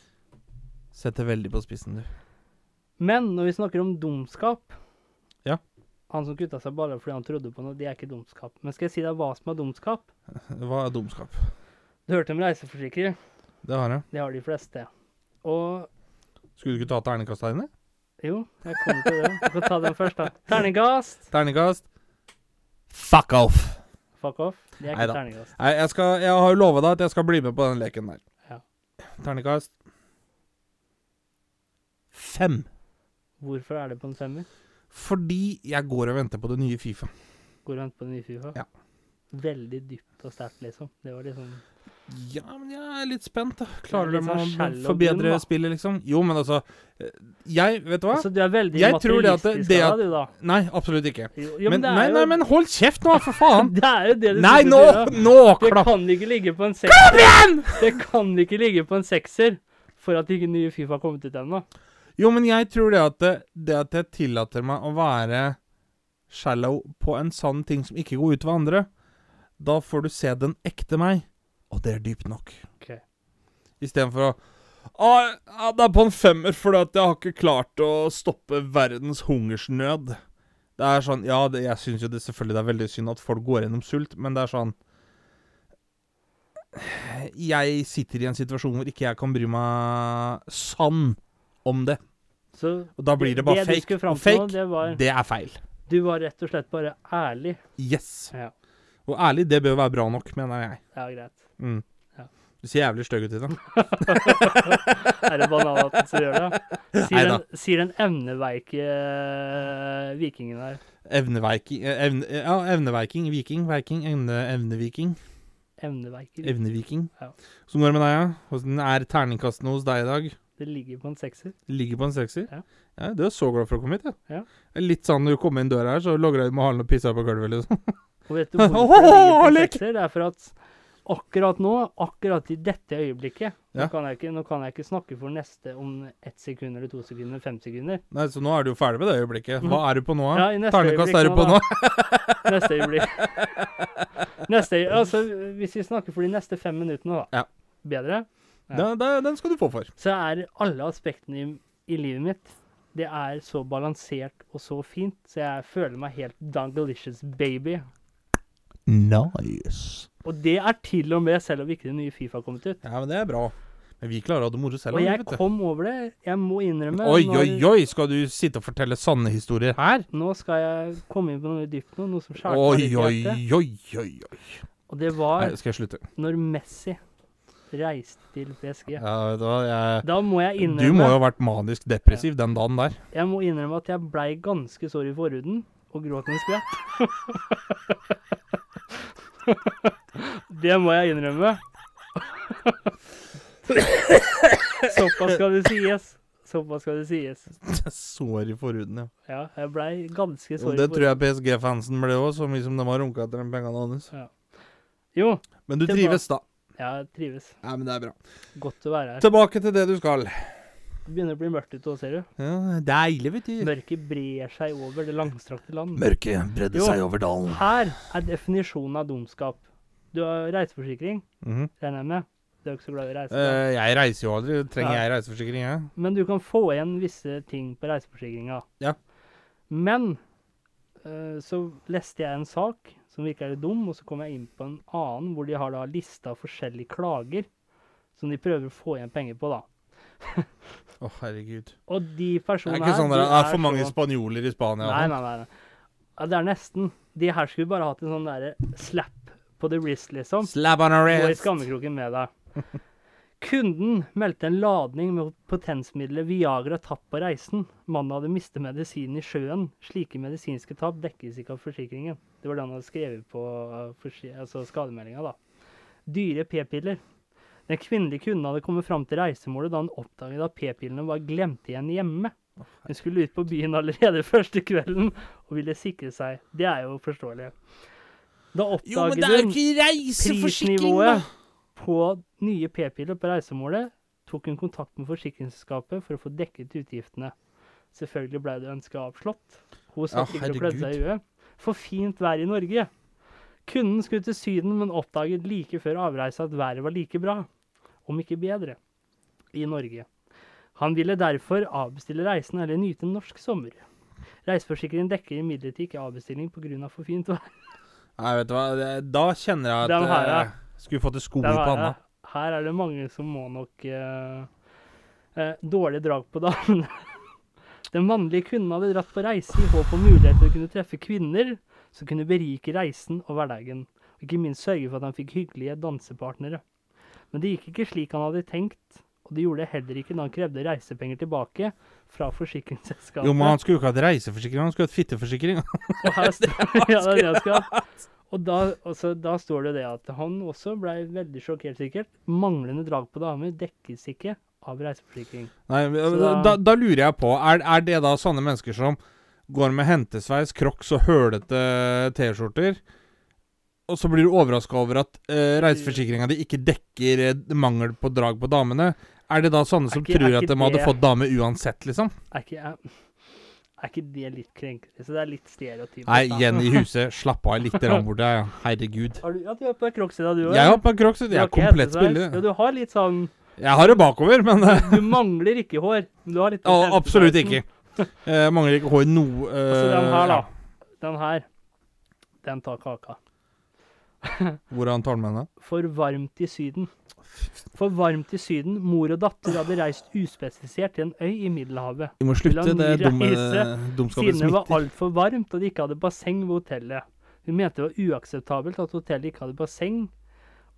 Setter veldig på spissen, du. (laughs) Men når vi snakker om dumskap Ja. Han som kutta seg bare fordi han trodde på noe, det er ikke dumskap. Men skal jeg si deg hva som er dumskap? Hva er dumskap? Du hørte om reiseforsikrer. Det har jeg. Det har de fleste. Og Skulle du ikke ta terningkasta dine? Jo, jeg kommer til det. Du kan ta den først, da. Terningkast! Terningkast. Fuck off! Fuck off. Det er ikke Neida. terningkast. Nei, jeg, skal, jeg har jo lova deg at jeg skal bli med på den leken der. Ja. Terningkast. Fem. Hvorfor er det på en femmer? Fordi jeg går og venter på det nye Fifa. Går og venter på den nye FIFA? Ja. Veldig dypt og sterkt, liksom. Det var liksom Ja, men jeg er litt spent. da Det Klarer er litt de sånn å shallow bunn, forbedre da. Altså spillet, liksom? Jo, men altså eh, Jeg, vet du hva? Så du er veldig Jeg tror det at det- materialistisk det av at- deg, du, da. Nei, absolutt ikke. Jo, jo, men, det er nei, jo- nei, men hold kjeft nå, for faen! (laughs) Det er jo det du Nei, sitter nå! og (laughs) sier, da. Nå! Det Klapp! kan ikke ligge på en sekser. Kom igjen! Det kan ikke ligge på en sekser for at ikke nye Fifa har kommet ut ennå. Jo, men jeg tror det at, det, det at jeg tillater meg å være shallow på en sann ting som ikke går ut over andre, da får du se den ekte meg, og det er dypt nok. Ok. Istedenfor å «Ah, ja, det er på en femmer fordi at jeg har ikke klart å stoppe verdens hungersnød. Det er sånn Ja, det, jeg syns jo det selvfølgelig det er veldig synd at folk går gjennom sult, men det er sånn jeg sitter i en situasjon hvor ikke jeg kan bry meg sann om det. Så Og da blir det bare Det du fake. skulle fram Og til nå, fake, det var det er feil. Du var rett og slett bare ærlig. Yes. Ja, Og ærlig, det bør være bra nok, mener jeg. det er greit. Mm. Ja. Du ser jævlig stygg ut i dag. Er det bananaten som gjør det? Sier Neida. den, sier den emneveike eh, vikingen her. Evneveiking eh, evne, eh, Ja, evneveiking. Viking. Viking. Evne, evneviking. Evneveiker. Evneviking. Ja. Så går det med deg, ja? Hvordan er terningkastene hos deg i dag? Det ligger på en sekser. Ligger på en sekser? Ja. Ja, du er så glad for å komme hit, ja. Ja. Det er Litt sånn når du kommer inn døra her, så logrer du med halen og pisser på gulvet, liksom. (laughs) Og vet du Åh, hvorfor det ligger på en lek! sekser? Det er for at akkurat nå, akkurat i dette øyeblikket Ja. nå, kan jeg ikke, nå kan jeg ikke snakke for neste om ett sekund eller to sekunder, fem sekunder. Nei, så nå er du jo ferdig med det øyeblikket. Hva er du på nå, da? Ja, i neste Ternekast øyeblikk er du nå, på da. nå? Neste (laughs) øyeblikk. Neste, øy- altså, hvis vi snakker for de neste fem minuttene, da. Ja. Bedre. (laughs) Ja. Den, den, den skal du få for. Så er alle aspektene i, i livet mitt Det er så balansert og så fint, så jeg føler meg helt Dungalicious baby. Nice. Og det er til og med selv om ikke det nye Fifa har kommet ut. Ja, men det er bra. Men vi klarer å ha det moro selv. om Og vi, jeg vet du. kom over det. Jeg må innrømme Oi, når- oi, oi! Skal du sitte og fortelle sanne historier her? Nå skal jeg komme inn på noe dypt nå, noe som skjærte meg Oi, litt i oi, hjertet. oi, oi. oi. Og det Nei, var skal jeg slutte? når Messi reiste til PSG. Ja, vet du hva, jeg Da må jeg innrømme Du må jo ha vært manisk depressiv den dagen (laughs) der. Jeg må innrømme at jeg blei ganske sår i forhuden og gråt en skvett. det må jeg innrømme. Såpass skal det sies. Såpass skal det sies. Sår i forhuden, ja. Ja, jeg blei ganske Og sår i det tror forhuden. jeg PSG-fansen ble òg, så mye som de har runka etter de pengene hans. Jo, Men du Tilbake. trives, da. jeg trives. Ja, men det er bra. Godt å være her. Tilbake til det du skal. Det begynner å bli mørkt ute òg, ser du. Ja, Deilig, vet du. Mørket brer seg over det langstrakte land. Mørket bredde Jo. over dalen. Her er definisjonen av dumskap. Du har reiseforsikring, Mhm. regner jeg med. Du er ikke så glad i å reise? da. Eh, jeg reiser jo aldri. Trenger Ja. jeg reiseforsikring, jeg? Men du kan få igjen visse ting på reiseforsikringa. Ja. Men eh, så leste jeg en sak som virka litt dum, og så kom jeg inn på en annen hvor de har da lista forskjellige klager som de prøver å få igjen penger på, da. Å, herregud. Og de Det er personene ikke sånn her at det er de for mange så- spanjoler i Spania. Nei, nei, nei. nei. Ja, det er nesten. De her skulle bare hatt en sånn derre slap på the wrist, liksom. Slap on a Gå i wrist. skammekroken med deg. (laughs) Kunden meldte en ladning med potensmiddelet Viagra tapt på reisen. Mannen hadde mistet medisinen i sjøen. Slike medisinske tap dekkes ikke av forsikringen. Det var det han hadde skrevet på eh, forsi- altså skademeldinga, da. Dyre p-piller. Den kvinnelige kunden hadde kommet fram til reisemålet da han oppdaget at p-pillene var glemt igjen hjemme. Hun skulle ut på byen allerede (laughs) første kvelden og ville sikre seg. Det er jo forståelig. Da oppdaget hun ikke prisnivået på nye p-piller på reisemålet tok hun kontakt med forsikringsselskapet for å få dekket utgiftene. Selvfølgelig ble det ønsket avslått. Hun satt ikke og klødde seg i huet. For fint vær i Norge. Kunden skulle til Syden, men oppdaget like før avreise at været var like bra, om ikke bedre, i Norge. Han ville derfor avbestille reisen eller nyte en norsk sommer. Reiseforsikringen dekker imidlertid ikke avbestilling pga. for fint vær. Nei, vet du hva. det- Da kjenner jeg at Den her, ja. eh, Skulle fått et sko i Der var panna. jeg. Her er det mange som må nok eh, eh, Dårlig drag på damene. (laughs) Den mannlige kunden hadde dratt på reise i håp om mulighet til å kunne treffe kvinner som kunne berike reisen og hverdagen, og ikke minst sørge for at han fikk hyggelige dansepartnere. Men det gikk ikke slik han hadde tenkt, og det gjorde det heller ikke da han krevde reisepenger tilbake fra forsikringsselskapet. Jo, men han skulle jo ikke hatt reiseforsikring, han skulle hatt fitteforsikring. Og her st- (laughs) ja, det er det jeg skal ha. Og da, altså, da står det det at han også ble veldig sjokkert, sikkert. Manglende drag på damer dekkes ikke av reiseforsikring. Nei, Så da, da- da lurer jeg på, er, er det da sånne mennesker som går med hentesveis, crocs og hølete T-skjorter, og så blir du overraska over at uh, reiseforsikringa di ikke dekker eh, mangel på drag på damene? Er det da sånne som ikke- er tror at ikke de hadde det- fått dame uansett, liksom? Er ikke, er, er ikke det litt krenkende? Så det er litt stereotypisk. Nei, da. Jenny (laughs) Huse, slapp av litt grann borte. Ja. Herregud. Har du, ja, du har på deg crocs i dag, du òg? Jeg har på crocs. Jeg er komplett Ja, spiller. du har litt sånn Jeg har det bakover, men (laughs) eh, Du mangler ikke hår. Men du har litt altså. å, absolutt ikke. Eh, mangler ikke hår noe eh, Så den her, ja. da. Den her, den tar kaka. Hvor han tar den med henne? For varmt i Syden. For varmt i Syden. Mor og datter hadde reist uspesifisert til en øy i Middelhavet. Vi må slutte, slutte, Vil det han det er dumme- dumme reise? dumskapen Siden det var smitter. altfor varmt og de ikke hadde basseng ved hotellet. Hun mente det var uakseptabelt at hotellet ikke hadde basseng,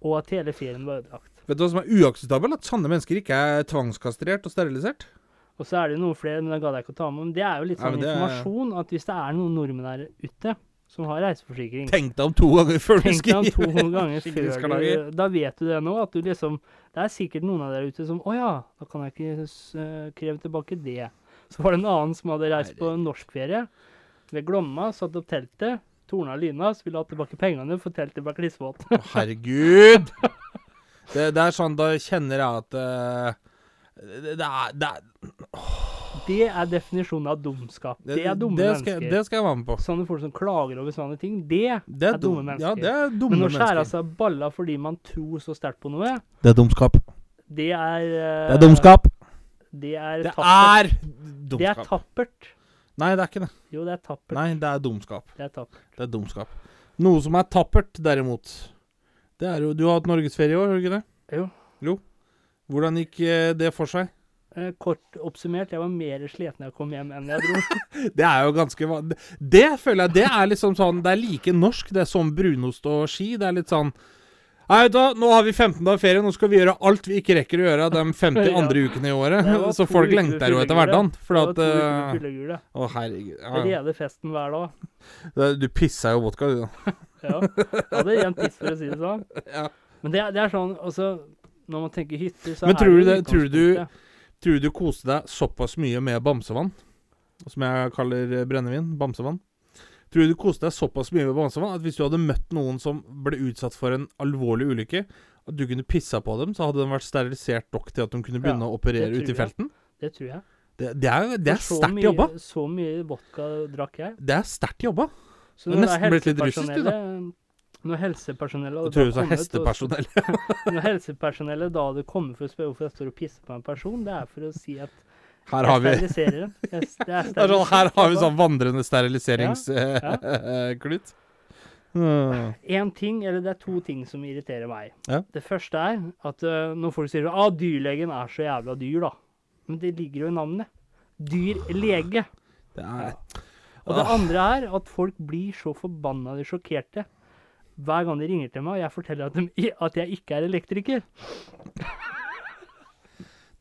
og at hele ferien var ødelagt. Vet du hva som er uakseptabelt? At sanne mennesker ikke er tvangskastrert og sterilisert. Og så er det noen flere, men det gadd jeg ikke å ta med. Men det er jo litt Ja, sånn men det er- informasjon at hvis det er noen nordmenn her ute som har reiseforsikring Tenk deg om to ganger før du Tenk deg om (laughs) skriver. 200 ganger Ikke du skal før du lage. Da vet du det nå, at du liksom Det er sikkert noen av dere ute som Å ja, da kan jeg ikke s- eh, kreve tilbake det. Så var det en annen som hadde reist på norskferie ved Glomma, satt opp teltet, torna lina, skulle ha tilbake pengene, for teltet ble (laughs) klissvått. Å, Herregud! Det, det er sånn, da kjenner jeg at eh, det, det er, det er Det er definisjonen av dumskap. Det er dumme det skal, mennesker. Det skal jeg være med på. Sånne folk som klager over sånne ting, det Det er, er dumme dum- mennesker. Ja, det er dumme Men å skjære av mennesker. seg balla fordi man tror så sterkt på noe, Det er dumskap. det er altså- eh, Det er dumskap. Det er Det tappert. er Det er dumskap. tappert. Nei, det er ikke det. Jo, det er tappert. Nei, det er dumskap. Det er tappert. Det er dumskap. Noe som er tappert, derimot, det er jo Du har hatt norgesferie i år, har du ikke det? Jo. Jo. Hvordan gikk eh, det for seg? Eh, Kort oppsummert, jeg var mer sliten da jeg kom hjem enn (laughs) jeg dro. Det er jo ganske van- Det føler jeg Det er liksom sånn Det er like norsk, det er som brunost og ski. Det er litt sånn Nei, vet du hva, nå har vi 15 dager ferie, nå skal vi gjøre alt vi ikke rekker å gjøre de 50 (laughs) Ja. andre ukene i året. Det (laughs) var Så to folk uker lengter jo etter fyllegule. hverdagen. For Det var at to uker med eh, fyllegule. Å, herregud. Ja, ja. Rede festen hver dag. Det- Du pissa jo vodka, du, da. Ja. Jeg hadde rent tiss, for å si det sånn. (laughs) Ja. Men det er, det er sånn også, Når man tenker hytter, så Men er tror jo du det- tror du- utgangspunktet. Tror du du koste deg såpass mye med bamsevann, som jeg kaller eh, brennevin, bamsevann? Tror du du koste deg såpass mye med bamsevann at hvis du hadde møtt noen som ble utsatt for en alvorlig ulykke, at du kunne pissa på dem, så hadde de vært sterilisert nok til at de kunne begynne Ja, å operere det ute i tror jeg. felten? Det tror jeg. Det, det er, det er For så sterkt mye- jobba. Så mye vodka drakk jeg. Det er sterkt jobba. Så Du har nesten blitt litt russisk, du, da. helsepersonellet- Når helsepersonellet Jeg hadde tror du da sa kommet og- hestepersonell. (laughs) Når helsepersonellet da hadde kommet for å spørre hvorfor jeg står og pisser på en person, det er for å si at Her har vi Jeg steriliserer den. Jeg, det (laughs) er det er sånn, her har vi sterilisert. sånn vandrende (laughs) steriliseringsklut. Mm. En ting, eller det er to ting som irriterer meg. Ja. Det første er at øh, når folk sier at ah, dyrlegen er så jævla dyr, da. Men det ligger jo i navnet. Dyrlege. Det er Og Ah. det andre er at folk blir så forbanna de sjokkerte hver gang de ringer til meg og jeg forteller at, de, at jeg ikke er elektriker.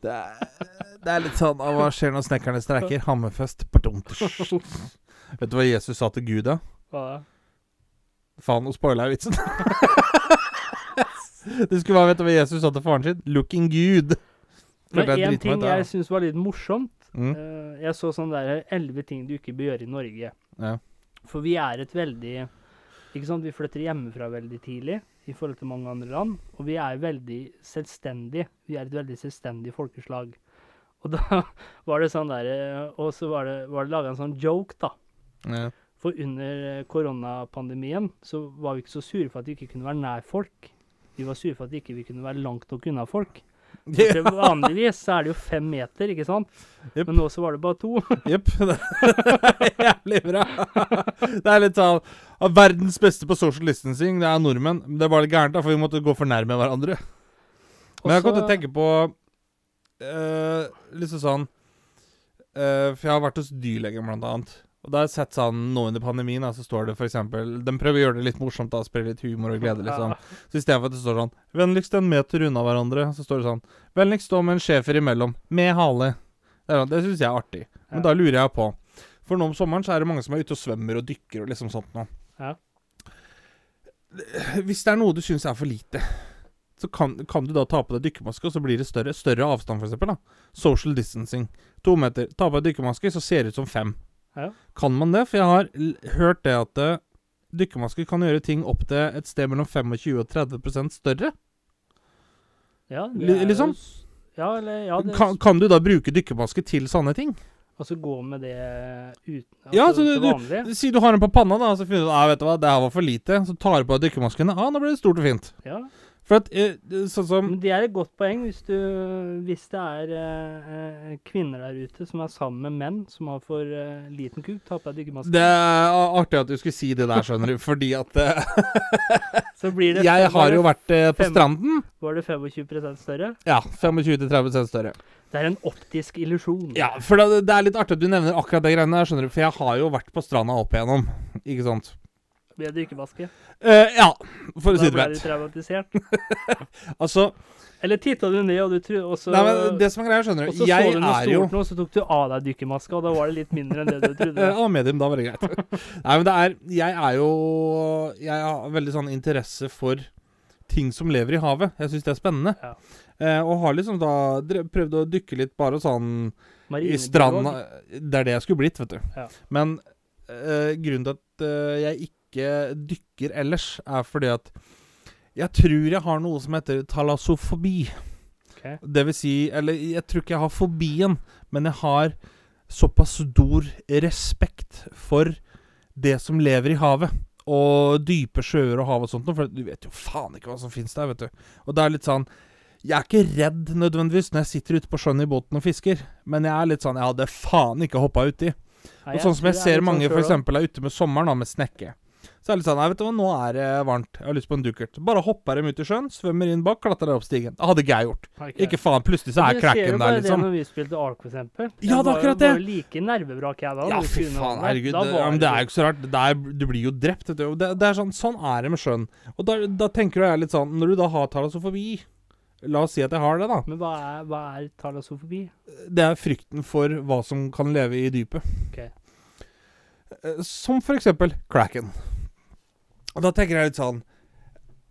Det er, det er litt sånn «Å, Hva skjer når snekkerne streiker? Hammerfest. Pardontusj. Vet du hva Jesus sa til Gud, da? Hva da? Faen, nå spoila jeg vitsen. (laughs) det skulle være, Vet du hva Jesus sa til faren sin? Looking good. Men Følte jeg en driter meg ting ut, ja. jeg syns var litt morsomt, Mm. Eh, jeg så sånn der elleve ting du ikke bør gjøre i Norge. Ja. For vi er et veldig Ikke sant, vi flytter hjemmefra veldig tidlig i forhold til mange andre land. Og vi er veldig selvstendige. Vi er et veldig selvstendig folkeslag. Og da (laughs) var det sånn der eh, Og så var det, var det laga en sånn joke, da. Ja. For under eh, koronapandemien så var vi ikke så sure for at vi ikke kunne være nær folk. Vi var sure for at ikke vi ikke kunne være langt nok unna folk. For det- vanligvis så er det jo fem meter, ikke sant? Jep. Men nå så var det bare to. (laughs) Jepp. (laughs) Det er Jævlig bra. Det er litt sånn «Å, Verdens beste på social distancing, det er nordmenn. Men Det var litt gærent, da, for vi måtte gå for nærme hverandre. Men jeg kom til å Også- tenke på eh, liksom sånn eh, For jeg har vært hos dyrlegen, blant annet. Og da har jeg sett sånn nå under pandemien, da, så står det f.eks. De prøver å gjøre det litt morsomt, da, spre litt humor og glede, liksom. Så i stedet for at det står sånn 'Vennligst en meter unna hverandre', så står det sånn 'Vennligst stå med en schæfer imellom, med hale'. Det, er sånn, det syns jeg er artig. Men Ja. da lurer jeg på For nå om sommeren så er det mange som er ute og svømmer og dykker og liksom sånt nå. Eh, Ja. Hvis det er noe du syns er for lite, så kan, kan du da ta på deg dykkermaske, og så blir det større, større avstand, for eksempel, da. Social distancing. To meter. Ta på deg dykkermaske, så ser det ut som fem. Ja. Kan man det? For jeg har l hørt det at eh, dykkermasker kan gjøre ting opp til et sted mellom 25 og 30 større. Ja, det Li- er jo liksom? s- Ja, eller ja, det, Kan, kan du da bruke dykkermaske til sånne ting? Altså gå med det uten altså, Ja, så du- til du- vanlig. Si du har den på panna, da, og så finner du ut ah, vet du hva, det her var for lite. Så tar du på deg dykkermasken. Ah, nå ble det stort og fint. Ja. For at eh, det- Sånn som Men det er et godt poeng hvis, du, hvis det er eh, eh, kvinner der ute som er sammen med menn som har for eh, liten kuk. Ta på deg dykkermaske. Det er artig at du skulle si det der, skjønner du. Fordi at (laughs) eh, Så blir det jeg var har det- jo vært eh, på fem- stranden. Var det 25 større? Ja, 25-30 større. Det er en optisk illusjon. Ja, for det, det er litt artig at du nevner akkurat de greiene der, skjønner du. For jeg har jo vært på stranda opp igjennom, ikke sant. Med dykkermaske. Eh, ja, for å Da si det ble du pent. traumatisert. Altså, Eller titta du ned, og du tro, og så, nei, men det som er greia, skjønner og du. så, så Jeg du noe er jo stort nå, så tok du av deg dykkermaska, og da var det litt mindre enn det du (laughs) trodde. Eh, Av medium, da var det greit. (laughs) Nei, men det er Jeg er jo Jeg har veldig sånn interesse for ting som lever i havet. Jeg syns det er spennende. Ja. Eh, og har liksom da drev- prøvd å dykke litt bare sånn i Marinebiolog. stranda Det er det jeg skulle blitt, vet du. Ja. Men eh, grunnen til at eh, jeg ikke dykker ellers, er fordi at jeg tror jeg har noe som heter talassofobi. Ok. Det vil si Eller jeg tror ikke jeg har fobien, men jeg har såpass stor respekt for det som lever i havet. Og dype sjøer og hav og sånt noe, for du vet jo faen ikke hva som fins der, vet du. Og det er litt sånn Jeg er ikke redd nødvendigvis når jeg sitter ute på sjøen i båten og fisker, men jeg er litt sånn Jeg hadde faen ikke hoppa uti. Nei, Og sånn som jeg tror det er ser litt mange sånn for selv også. eksempel er ute med sommeren da, med snekke. Så er det litt sånn Nei, vet du hva, nå er det varmt. Jeg har lyst på en dukkert. Bare hopper dem ut i sjøen, svømmer inn bak, klatrer opp stigen. Det hadde Geir gjort. Nei, Ikke faen, plutselig så er krakken der, Du ser jo bare det liksom. når vi spilte Ark, for eksempel. Ja, Jeg det er var jo akkurat det. bare like nervevrak jeg da. Ja, når vi fy skulle faen, underholde. herregud. Da Det, ja, var men det er jo ikke så rart. Det er, du blir jo drept, vet du. Og Det, det er sånn, sånn er det med sjøen. Og da, da tenker jeg litt sånn Når du da har talassofobi La oss si at jeg har det, da. Men hva er, hva er talassofobi? Det er frykten for hva som kan leve i dypet. Ok. Eh, Som for eksempel Kraken. Og da tenker jeg litt sånn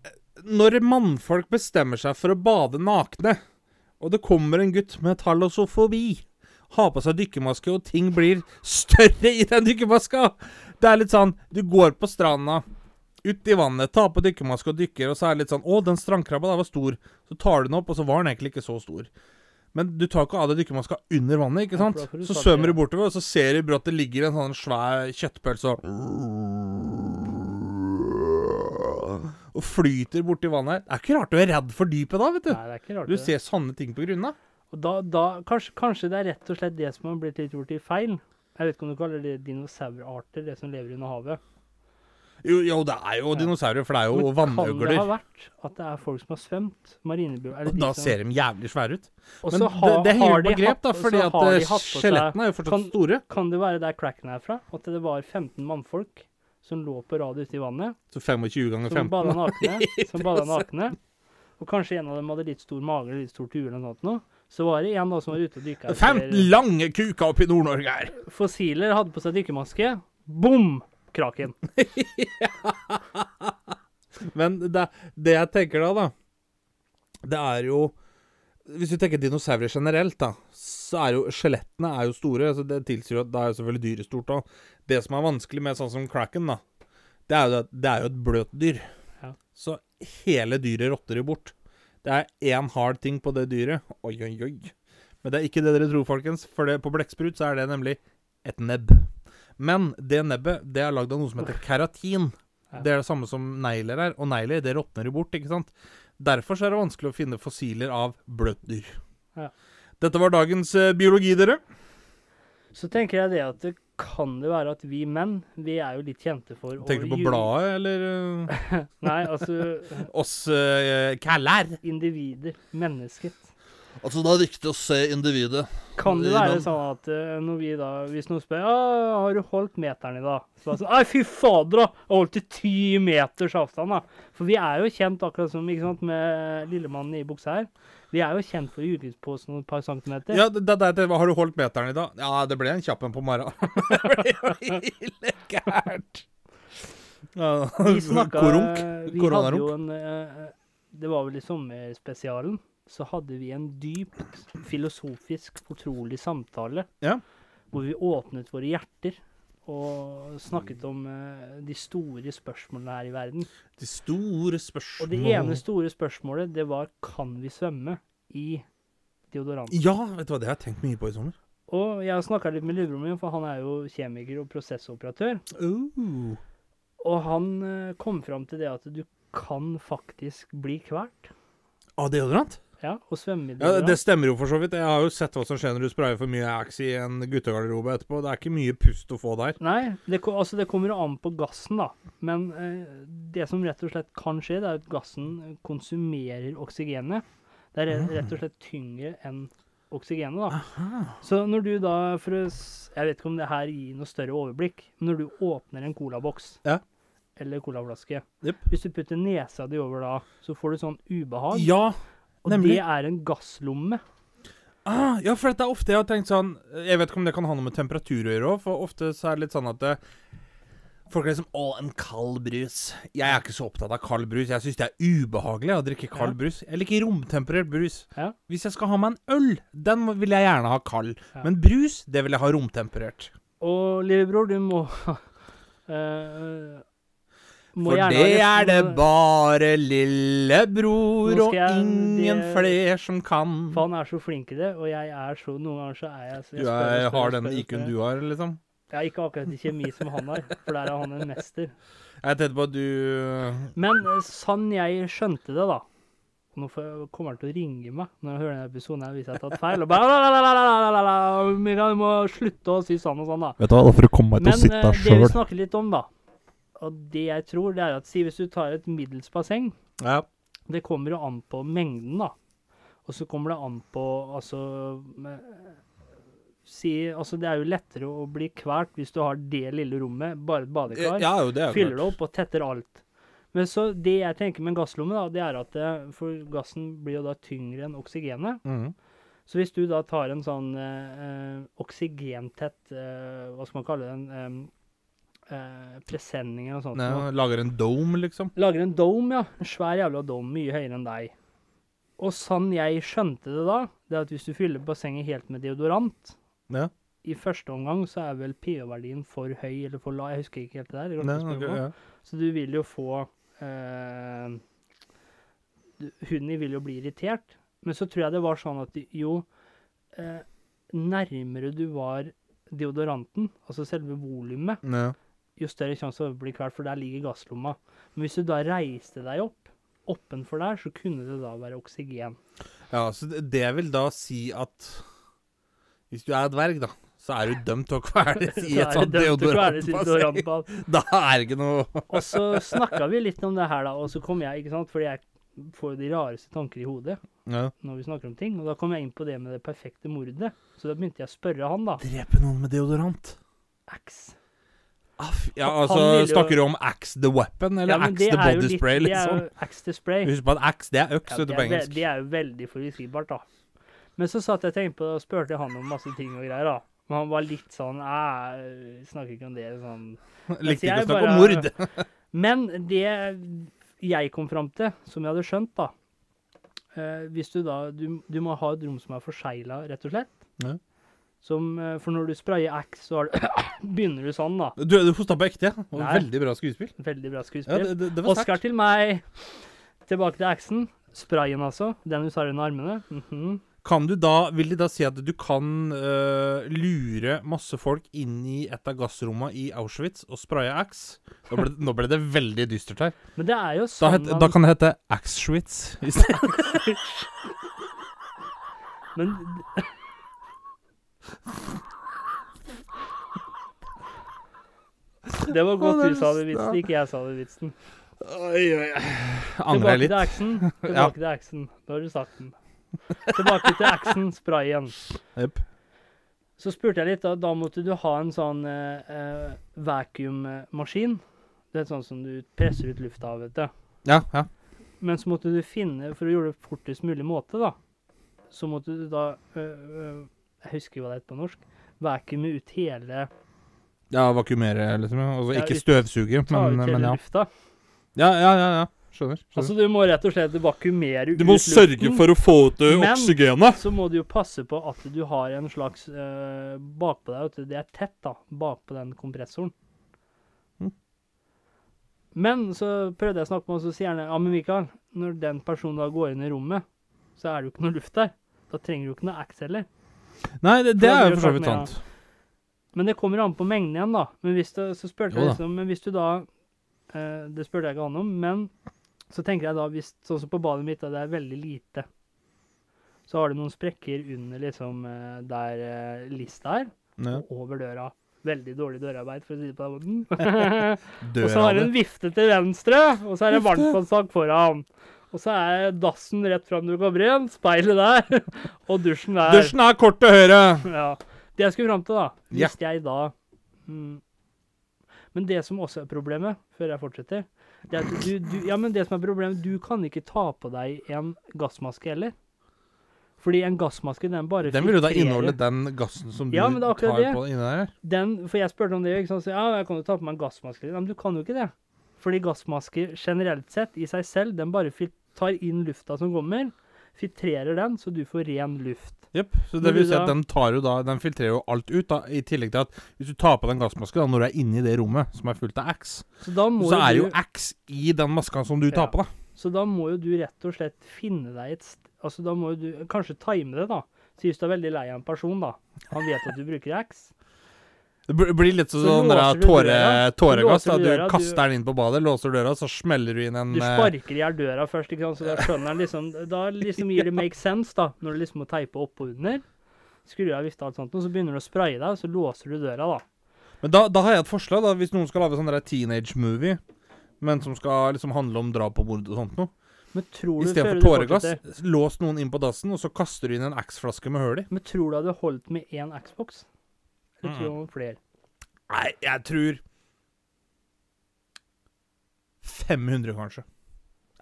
eh, Når mannfolk bestemmer seg for å bade nakne, og det kommer en gutt med talassofobi, har på seg dykkermaske, og ting blir større i den dykkermaska Det er litt sånn Du går på stranda, ut i vannet, tar på dykkermaske og dykker, og så er det litt sånn Å, den strandkrabba der var stor. Så tar du den opp, og så var den egentlig ikke så stor. Men du tar ikke av deg dykkermaska under vannet, ikke Ja, for sant? da får du Så salt i svømmer øyet. du bortover, og så ser du brått det ligger en sånn svær kjøttpølse og Og flyter borti vannet. Det er ikke rart du er redd for dypet da, vet du. Nei, det er ikke rart. Du det. ser sånne ting på grunna. Og da, da, kanskje, kanskje det er rett og slett det som har blitt litt gjort i feil. Jeg vet ikke om du kaller det dinosaurarter, det som lever under havet. Jo, jo, det er jo dinosaurer, for det er jo kan det ha vannøgler. vært at det er folk som har svømt? Marinebjørn eller Og de da som- ser de jævlig svære ut. Og Men så det, har- det henger jo har på de grep, hatt- da, og så fordi at har de eh, hatt på seg- skjelettene er jo fortsatt Kan- store. Kan det være der Kraken er fra? At det var 15 mannfolk som lå på rad ute i vannet, Så 25 ganger 15 som bada da. nakne? (laughs) som bada nakne. Og kanskje en av dem hadde litt stor mage eller litt stort hue eller noe sånt. nå. Så var det en da som var ute og dykka 15 lange kuker oppe i Nord-Norge her! fossiler, hadde på seg dykkermaske. Bom! Kraken. Men det, det jeg tenker da, da Det er jo Hvis du tenker dinosaurer generelt, da, så er jo skjelettene er jo store. Så det tilsier jo at det er jo selvfølgelig dyret stort òg. Det som er vanskelig med sånn som kraken, da, det er jo at det er jo et bløt dyr. Ja. Så hele dyret rotter jo bort. Det er én hard ting på det dyret. Oi, oi, oi. Men det er ikke det dere tror, folkens. For det, på blekksprut så er det nemlig et nebb. Men det nebbet det er lagd av noe som heter keratin. Ja. Det er det samme som negler er. Og negler det råtner jo bort, ikke sant. Derfor så er det vanskelig å finne fossiler av bløtt dyr. Ja. Dette var dagens eh, biologi, dere. Så tenker jeg det at det kan det være at vi menn, vi er jo litt kjente for å Tenker du på ljuge. bladet, eller eh, Nei, altså oss uh, kæller? individer. Mennesket. Altså, det er viktig å se individet. Kan det I være land. sånn at eh, når vi da, hvis noen spør ja, 'Har du holdt meteren i dag?' Så bare sånn 'Nei, fy fader, da! Jeg holdt i ti meters avstand', da. For vi er jo kjent, akkurat som ikke sant, med lillemannen i buksa her, vi er jo kjent for å ljuge på oss noen par centimeter. Ja, det, det, det, har du holdt meteren i dag? Ja, det ble en kjapp en på morgenen. (laughs) det ble jo ille gærent. Ja, (laughs) vi snakka Korunk. Vi hadde Koronarunk. jo en eh, Det var vel i sommerspesialen. Så hadde vi en dyp, filosofisk, fortrolig samtale Ja. hvor vi åpnet våre hjerter. Og snakket om eh, de store spørsmålene her i verden. De store Og spørsmål det ene store spørsmålet, det var kan vi svømme i deodorant? Ja, vet du hva, det har jeg tenkt mye på i sommer. Og jeg har snakka litt med lillebroren min, for han er jo kjemiker og prosessoperatør. Uh. Og han eh, kom fram til det at du kan faktisk bli kvalt. Av deodorant? Ja, Ja, og svømmedeodorant. det stemmer jo for så vidt. Jeg har jo sett hva som skjer når du sprayer for mye Axe i en guttegarderobe etterpå. Det er ikke mye pust å få der. Nei, det, ko- altså det kommer jo an på gassen, da. Men eh, det som rett og slett kan skje, det er at gassen konsumerer oksygenet. Det er Ah. re- rett og slett tyngre enn oksygenet, da. Så når du da, for å s- Jeg vet ikke om det her gir noe større overblikk, men når du åpner en colaboks Ja. eller colaflaske Jepp. Hvis du putter nesa di over da, så får du sånn ubehag. Ja, og nemlig. det er en gasslomme. Ah, ja, for det er ofte jeg har tenkt sånn Jeg vet ikke om det kan ha noe med temperatur å gjøre òg, for ofte så er det litt sånn at det, Folk er liksom 'Å, en kald brus'. Jeg er ikke så opptatt av kald brus. Jeg syns det er ubehagelig å drikke kald Ja. brus. Jeg liker romtemperert brus. Ja. Hvis jeg skal ha meg en øl, den må- vil jeg gjerne ha kald. Ja. Men brus, det vil jeg ha romtemperert. Og lillebror, du må (laughs) eh, må For gjerne ha det litt- er det må- bare lillebror Nå og skal jeg- ingen det- flere som kan. For han er så flink i det, og jeg er så Noen ganger så er jeg så Du er, har den IQ-en du har, liksom? Jeg er ikke akkurat i kjemi som han har, for der er han en mester. Jeg tenkte på at du Men eh, sann jeg skjønte det, da. Nå får- kommer han til å ringe meg når han hører denne episoden her hvis jeg har tatt feil. Og bare «Lalalalalalala, Mikael, du må slutte å si sånn og sånn, da. Vet du hva, da får du komme Men eh, det vi snakker litt om, da, og det jeg tror, det er at si hvis du tar et middels basseng Ja. Det kommer jo an på mengden, da. Og så kommer det an på Altså med- si, altså Det er jo lettere å bli kvalt hvis du har det lille rommet, bare et badekar. ja, jo, det er jo fyller det klart. opp og tetter alt. Men så det jeg tenker med en gasslomme, da, det er at det, For gassen blir jo da tyngre enn oksygenet. Mhm. Så hvis du da tar en sånn eh, eh, oksygentett eh, Hva skal man kalle det? En eh, eh, presenning eller noe sånt. Nei, noe. han lager en dome, liksom. Lager en dome, ja. En svær jævla dome, mye høyere enn deg. Og sånn jeg skjønte det da, det er at hvis du fyller bassenget helt med deodorant Ja. I første omgang så er vel pH-verdien for høy eller for lav, jeg husker ikke helt det der. jeg Nei, glemte å spørre ok, om det. ja. Så du vil jo få eh, du- Huden din vil jo bli irritert. Men så tror jeg det var sånn at jo eh, nærmere du var deodoranten, altså selve volumet, Ja. jo større sjanse for å bli kvalt, for der ligger gasslomma. Men hvis du da reiste deg opp, oppenfor der, så kunne det da være oksygen. ja, så det det vil da si at Hvis du er dverg, da, så er du dømt til å (laughs) kveles (laughs) i et sånt deodorantbasseng. deodorantbasseng. Da er det ikke noe Og så snakka vi litt om det her, da, og så kom jeg, ikke sant, fordi jeg får jo de rareste tanker i hodet ja. når vi snakker om ting, og da kom jeg inn på det med det perfekte mordet. Så da begynte jeg å spørre han, da. Drepe noen med deodorant. Axe. Aff, ja, Han- altså, han vil jo- Snakker du om Axe the Weapon eller Ja, men Axe det the er jo Body litt- Spray, det er jo (laughs) liksom? Axe the spray. Husk på at Axe, det er øks vet Ja, du, det, på er ve- engelsk. det er jo veldig forutsigbart, da. Men så satt jeg og tenkte på det og spurte han om masse ting og greier, da. Men han var litt sånn Jeg snakker ikke om det. sånn. Likte ikke jeg å snakke om bare- mord. Men det jeg kom fram til, som jeg hadde skjønt, da eh, Hvis du da Du, du må ha et rom som er forsegla, rett og slett. Ja. Som, eh, for når du sprayer Axe, så har du, (coughs) begynner du sånn, da. Du, du hosta på ekte. ja. Og Nei. Veldig bra skuespill. Veldig bra skuespill. Ja, det, det, det var Oscar til meg. Tilbake til Axen. Sprayen, altså. Den du tar under armene. Mhm. Kan du da, Vil de da si at du kan øh, lure masse folk inn i et av gassrommene i Auschwitz og spraye ax? Nå ble, nå ble det veldig dystert her. Men det er jo Da, sånn het, man- da kan det hete Axschwitz. i stedet. (laughs) Men Det var godt du sa det vitsen, ikke jeg sa det vitsen. Oi, oi, oi. Angrer jeg Tilbake litt. til (laughs) Axen. Tilbake til Axen. Da har du sagt den. Tilbake til Axen, sprayen. Jepp. Så spurte jeg litt, da, da måtte du ha en sånn eh, eh, vakuummaskin. Det er sånn som du presser ut lufta av, vet du. Ja, ja. Men så måtte du finne, for å gjøre det fortest mulig måte, da, så måtte du da øh, øh, Jeg husker jo hva det heter på norsk. Vakuume ut hele, eh, ja vakuumere, liksom. ja. Altså, Ja, ikke ut- støvsuge, ta ut men, hele men ja. lufta. Ja, ja, ja. ja. Skjønner. skjønner. Altså, du må rett og slett vakuumere ut for å få ut eh, Men- oksygenet. Så må du jo passe på at du har en slags øh, bakpå deg, at det er tett, da, bakpå den kompressoren. Mhm. Men så prøvde jeg å snakke med ham, og så sier han ja, men Mikael, når den personen da går inn i rommet, så er det jo ikke noe luft der. Da trenger du jo ikke noe ax heller. Nei, det, For det da er blir jo det for så klart vidt mer, ja. sant. Men det kommer an på mengden igjen, da. Men hvis, det, så spurte Jo jeg da. liksom, men hvis du da eh, Det spurte jeg ikke han om, men Så tenker jeg da, hvis, sånn som på badet mitt, da, det er veldig lite. Så har du noen sprekker under liksom eh, der eh, lista er, Ja. og over døra. Veldig dårlig dørarbeid, for å si det på den måten. (laughs) og så Døra har du en di. vifte til venstre, og så er det Vifte. varmtvannssak foran. Og så er dassen rett fram når du kommer inn, speilet der, (laughs) og dusjen der. Dusjen er kort til høyre. (laughs) Ja. Det jeg skulle fram til, da Ja. Hvis jeg da mm, Men det som også er problemet, før jeg fortsetter det er at du, du, Ja, men det som er problemet, du kan ikke ta på deg en gassmaske heller. Fordi en gassmaske, den bare Den vil jo da filtrerer- inneholde den gassen som du Ja, men det er akkurat tar det. på inni der. den, For jeg spurte om det, ikke sant. Så, ja, jeg kan jo ta på meg en gassmaske. Ja, men du kan jo ikke det. Fordi gassmasker generelt sett, i seg selv, den bare fil tar inn lufta som kommer, filtrerer den, så du får ren luft. Jepp. Så Når det vil du si at da- den tar jo da Den filtrerer jo alt ut, da. I tillegg til at hvis du tar på den gassmasken da, når du er inni det rommet som er fullt av Axe, Så da må så er det du jo Axe i den maska som du Ja. tar på, da. Så da må jo du rett og slett finne deg et st Altså, da må jo du kanskje time det, da. Så hvis du er veldig lei av en person, da. Han vet at du bruker X. Det bl- blir litt sånn, Så sånn låser der du tåre, døra. tåregass. Så Da. låser du Du døra, du- kaster den inn på badet, låser døra, så smeller du inn en Du eh, sparker i hjel døra først, ikke sant, så da skjønner han liksom Da liksom gir det make sense, da, når du liksom må teipe opp og under. Skru av vifta og alt sånt, og så begynner du å spraye deg, og så låser du døra, da. Men da, da har jeg et forslag, da. Hvis noen skal lage sånn der teenage-movie, men som skal liksom handle om drap og mord og sånt noe. Men tror du før Istedenfor du tåregass, fortsetter lås noen inn på dassen, og så kaster du inn en Axe-flaske med høl i. Men tror du det hadde holdt med én Xbox? Eller tror du Mm. det var flere? Nei, jeg tror 500, kanskje.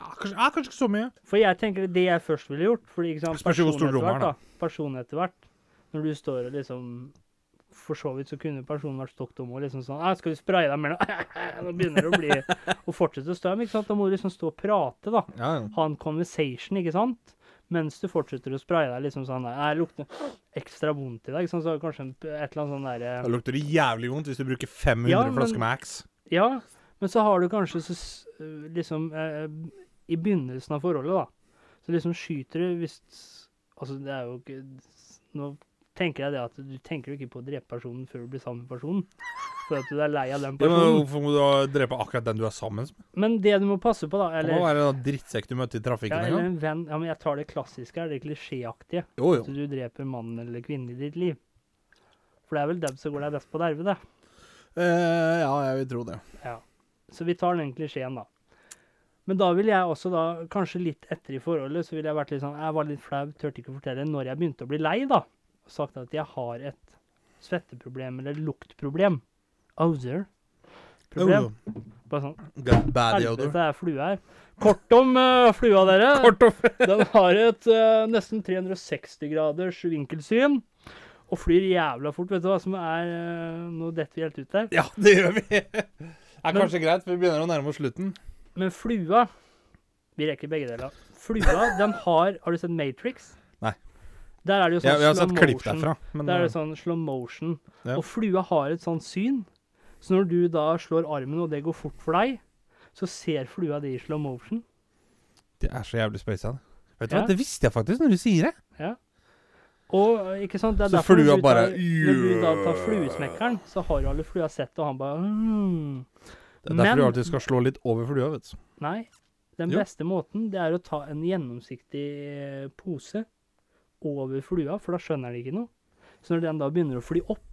Ja, kanskje, ja, kanskje ikke så mye. For jeg tenker det jeg først ville gjort fordi ikke sant, Spørs jo hvor stor personen etter rommet er, hvert, da. Personen etter hvert. Når du står og liksom For så vidt så kunne personen vært stokk dum og liksom sånn «Ah, 'Skal vi spraye deg mer nå?' (laughs) Nå begynner det å (laughs) bli Å fortsette å stå men ikke sant? Da må du liksom stå og prate, da. Ja, ja. Ha en conversation, ikke sant? Mens du fortsetter å spraye deg liksom sånn der, «Nei, 'Det lukter ekstra vondt i dag', ikke sant? Så har du kanskje en, et eller annet sånn derre Da lukter det jævlig vondt hvis du bruker 500 Ja, men- flasker med Axe. Ja, men så har du kanskje så, s- øh, liksom eh, I begynnelsen av forholdet, da, så liksom skyter du hvis Altså, det er jo ikke Nå tenker jeg det at du tenker jo ikke på å drepe personen før du blir sammen med personen. For at du er lei av Ja, den men personen. Hvorfor må du da drepe akkurat den du er sammen med? Men det du må passe på, da Det må Eller, være en drittsekk du møtte i ja, trafikken en eller gang. en venn Ja, men jeg tar det klassiske her, det klisjéaktige. Jo, At jo. du dreper mannen eller kvinnen i ditt liv. For det er vel dem som går deg best på nervene. Eh, ja, jeg vil tro det. Så vi tar den klisjeen, da. Men da ville jeg også, da, kanskje litt etter i forholdet, så ville jeg vært litt sånn Jeg var litt flau, turte ikke å fortelle når jeg begynte å bli lei, da. Og sagt at jeg har et svetteproblem eller luktproblem. Jo, Odor-problem. jo. Bare sånn Got bad odor. Helvete, det er flue her. Kort om eh, flua, dere. (laughs) Kort og Den har et eh, nesten 360 graders vinkelsyn. Og flyr jævla fort. Vet du hva som er eh, Nå detter vi helt ut der. Ja, det gjør vi. Det er Men- kanskje greit, for vi begynner å nærme oss slutten. Men flua Vi rekker begge deler. Flua, (laughs) den har Har du sett Matrix? Nei. Der er det jo sånn Jeg, jeg har slow sett klipp motion. derfra. Men Der er det eh, sånn slow motion. Ja. Og flua har et sånt syn. Så når du da slår armen, og det går fort for deg, så ser flua det i slow motion. det er så jævlig spøysa. det. Vet du Ja. hva, det visste jeg faktisk når du sier det. Og eh, ikke sant, det er Så derfor når flua du bare, tar, Når du da tar fluesmekkeren, så har jo alle flua sett, og han bare mm. Det er derfor Men- du alltid skal slå litt over flua, vet du. Nei. Den Jo. beste måten det er å ta en gjennomsiktig eh, pose over flua, for da skjønner den ikke noe. Så når den da begynner å fly opp,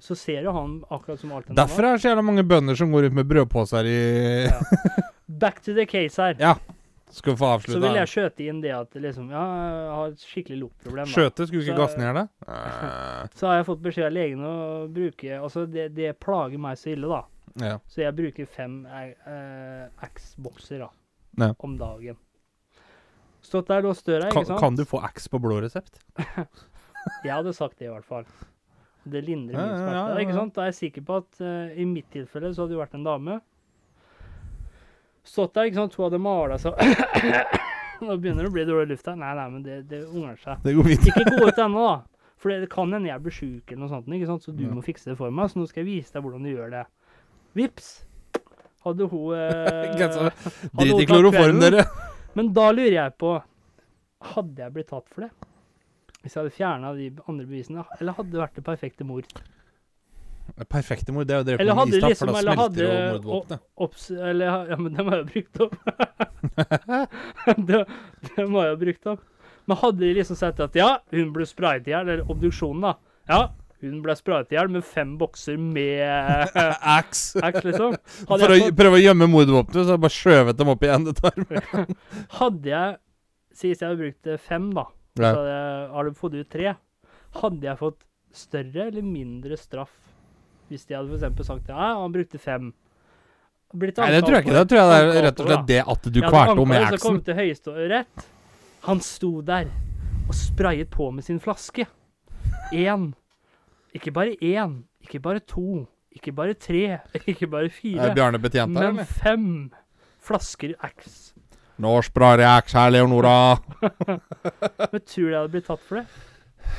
så ser jo han akkurat som alt den Derfor er det så jævla mange bønder som går ut med brødposer i (laughs) Ja. Back to the case her. Ja, Skal vi få så avslutta? vil jeg skjøte inn det at liksom, ja, jeg har et skikkelig luktproblem. da. Skjøte? Skulle vi Så- ikke gassen gjøre det? Eh, Så har jeg fått beskjed av legen å bruke Altså, det, det plager meg så ille, da. Ja. Så jeg bruker fem eh, X-bokser da, Ja. om dagen. Stått der, låst døra, ikke Kan, sant? kan du få Axe på blå resept? Jeg hadde sagt det, i hvert fall. Det lindrer Ja, min ja, smerte. ja, ja, Ikke ja. sant? Da er jeg sikker på at eh, i mitt tilfelle så hadde det vært en dame. Stått der, ikke sant. Hun hadde mala så (coughs) Nå begynner det å bli dårlig luft her. Nei, nei, men det, det unger seg. Det går fint. Ikke gå ut ennå, da. For det kan hende jeg blir sjuk eller noe sånt, ikke sant? så du Ja. må fikse det for meg. Så nå skal jeg vise deg hvordan du gjør det. Vips! Hadde hun (laughs) eh, Grensa. hadde Drit hun i tatt kloroform, kvelden? dere. Men da lurer jeg på Hadde jeg blitt tatt for det? Hvis jeg hadde fjerna de andre bevisene? Eller hadde det vært det perfekte mord? Det Perfekte mord, det er å drepe Eller noen hadde med de istapp, for liksom- da eller smelter jo hadde- mordvåpenet. Obs eller, ja, ja, men dem har jeg brukt opp. (laughs) dem, dem har jeg brukt opp. Men hadde de liksom sett at ja, hun ble sprayet i hjel, eller obduksjonen, da. Ja, hun ble sprayet i hjel med fem bokser med eh, (laughs) Axe! ax, liksom. Hadde For å jeg, fått, prøve å gjemme mordvåpenet, så har jeg bare skjøvet dem opp igjen. Det tar hadde jeg Sies jeg hadde brukt eh, fem, da. (laughs) Så ja. hadde jeg, har du fått ut tre. Hadde jeg fått større eller mindre straff hvis de hadde for eksempel sagt ja, han brukte fem? Blitt Nei, det anket tror jeg ikke. for- Det tror jeg det anket er rett og for, da. slett det at du Ja, kvalte henne med anklaget, Så aksen. kom det til Høyesterett. Han sto der og sprayet på med sin flaske. Én. Ikke bare én. Ikke bare to. Ikke bare tre. (laughs) Ikke bare Er fire. Eh, Bjarne betjent her, Men eller? fem flasker Ax. Nå sprayer jeg aks her, Leonora. Men tror du jeg hadde blitt tatt for det?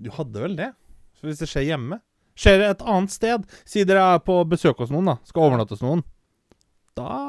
Du hadde vel det? Så hvis det skjer hjemme Skjer det et annet sted? Si dere er på besøk hos noen, da. Skal overnatte hos noen. Da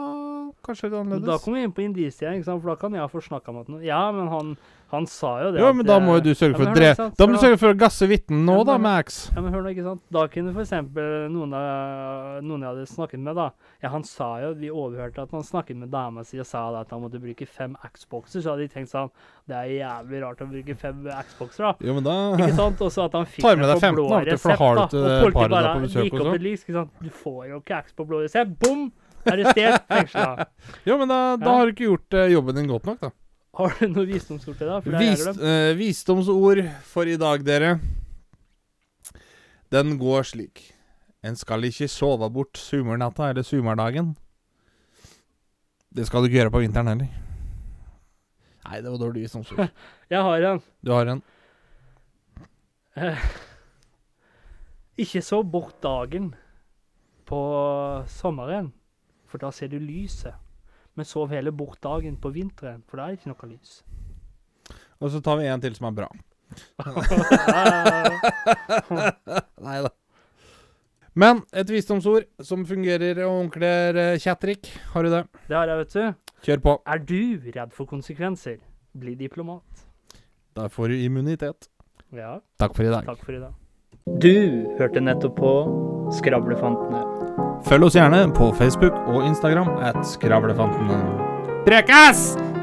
kanskje litt Men da annerledes. kommer vi inn på indisier, ikke sant? for da kan jeg få snakka med noen. Ja, men han, han sa jo det. Jo, at, men da må eh, jo du sørge for Ja, å men hør nå, dre... ikke sant, Da for må du da- sørge for å gasse vitnen nå, Ja, da, men- Max. Ja, men hør nå, ikke sant? Da kunne for eksempel noen, av, noen jeg hadde snakket med, da Ja, han sa jo, vi overhørte at han snakket med dama si og sa da at han måtte bruke fem Xboxer, så hadde de tenkt sånn Det er jævlig rart å bruke fem Xboxer, da. Jo, men da (laughs) Ikke sant? Og så at han fikk Tar med det deg på 15 blå av og til, for da resept, har du da. til Og folk paret da bare på besøk gikk og opp sånn. et lys, ikke sant. Du får jo ikke X på blå resept. Bom! Arrestert, fengsla. Jo, men da, da Ja. har du ikke gjort eh, jobben din godt nok, da. Har du noe visdomsord til det? For det har jeg Vis, glemt. eh, visdomsord for i dag, dere. Den går slik. En skal ikke sove bort sumernatta eller sumerdagen. Det skal du ikke gjøre på vinteren heller. Nei, det var dårlig visdomsord. Jeg har en. (laughs) Du har en. Ikke så bort dagen på sommeren, for da ser du lyset. Men sov heller bort dagen på vinteren, for da er det ikke noe lys. Og så tar vi en til som er bra. Nei da. Men et visdomsord som fungerer og onkler eh, Kjatrik, har du det? det har jeg, vet du. Kjør på. Er du redd for konsekvenser? Bli diplomat. Da får du immunitet. Ja, Takk for i dag. takk for i dag. Du hørte nettopp på Skravlefantene. Følg oss gjerne på Facebook og Instagram at Skravlefantene. Prekas!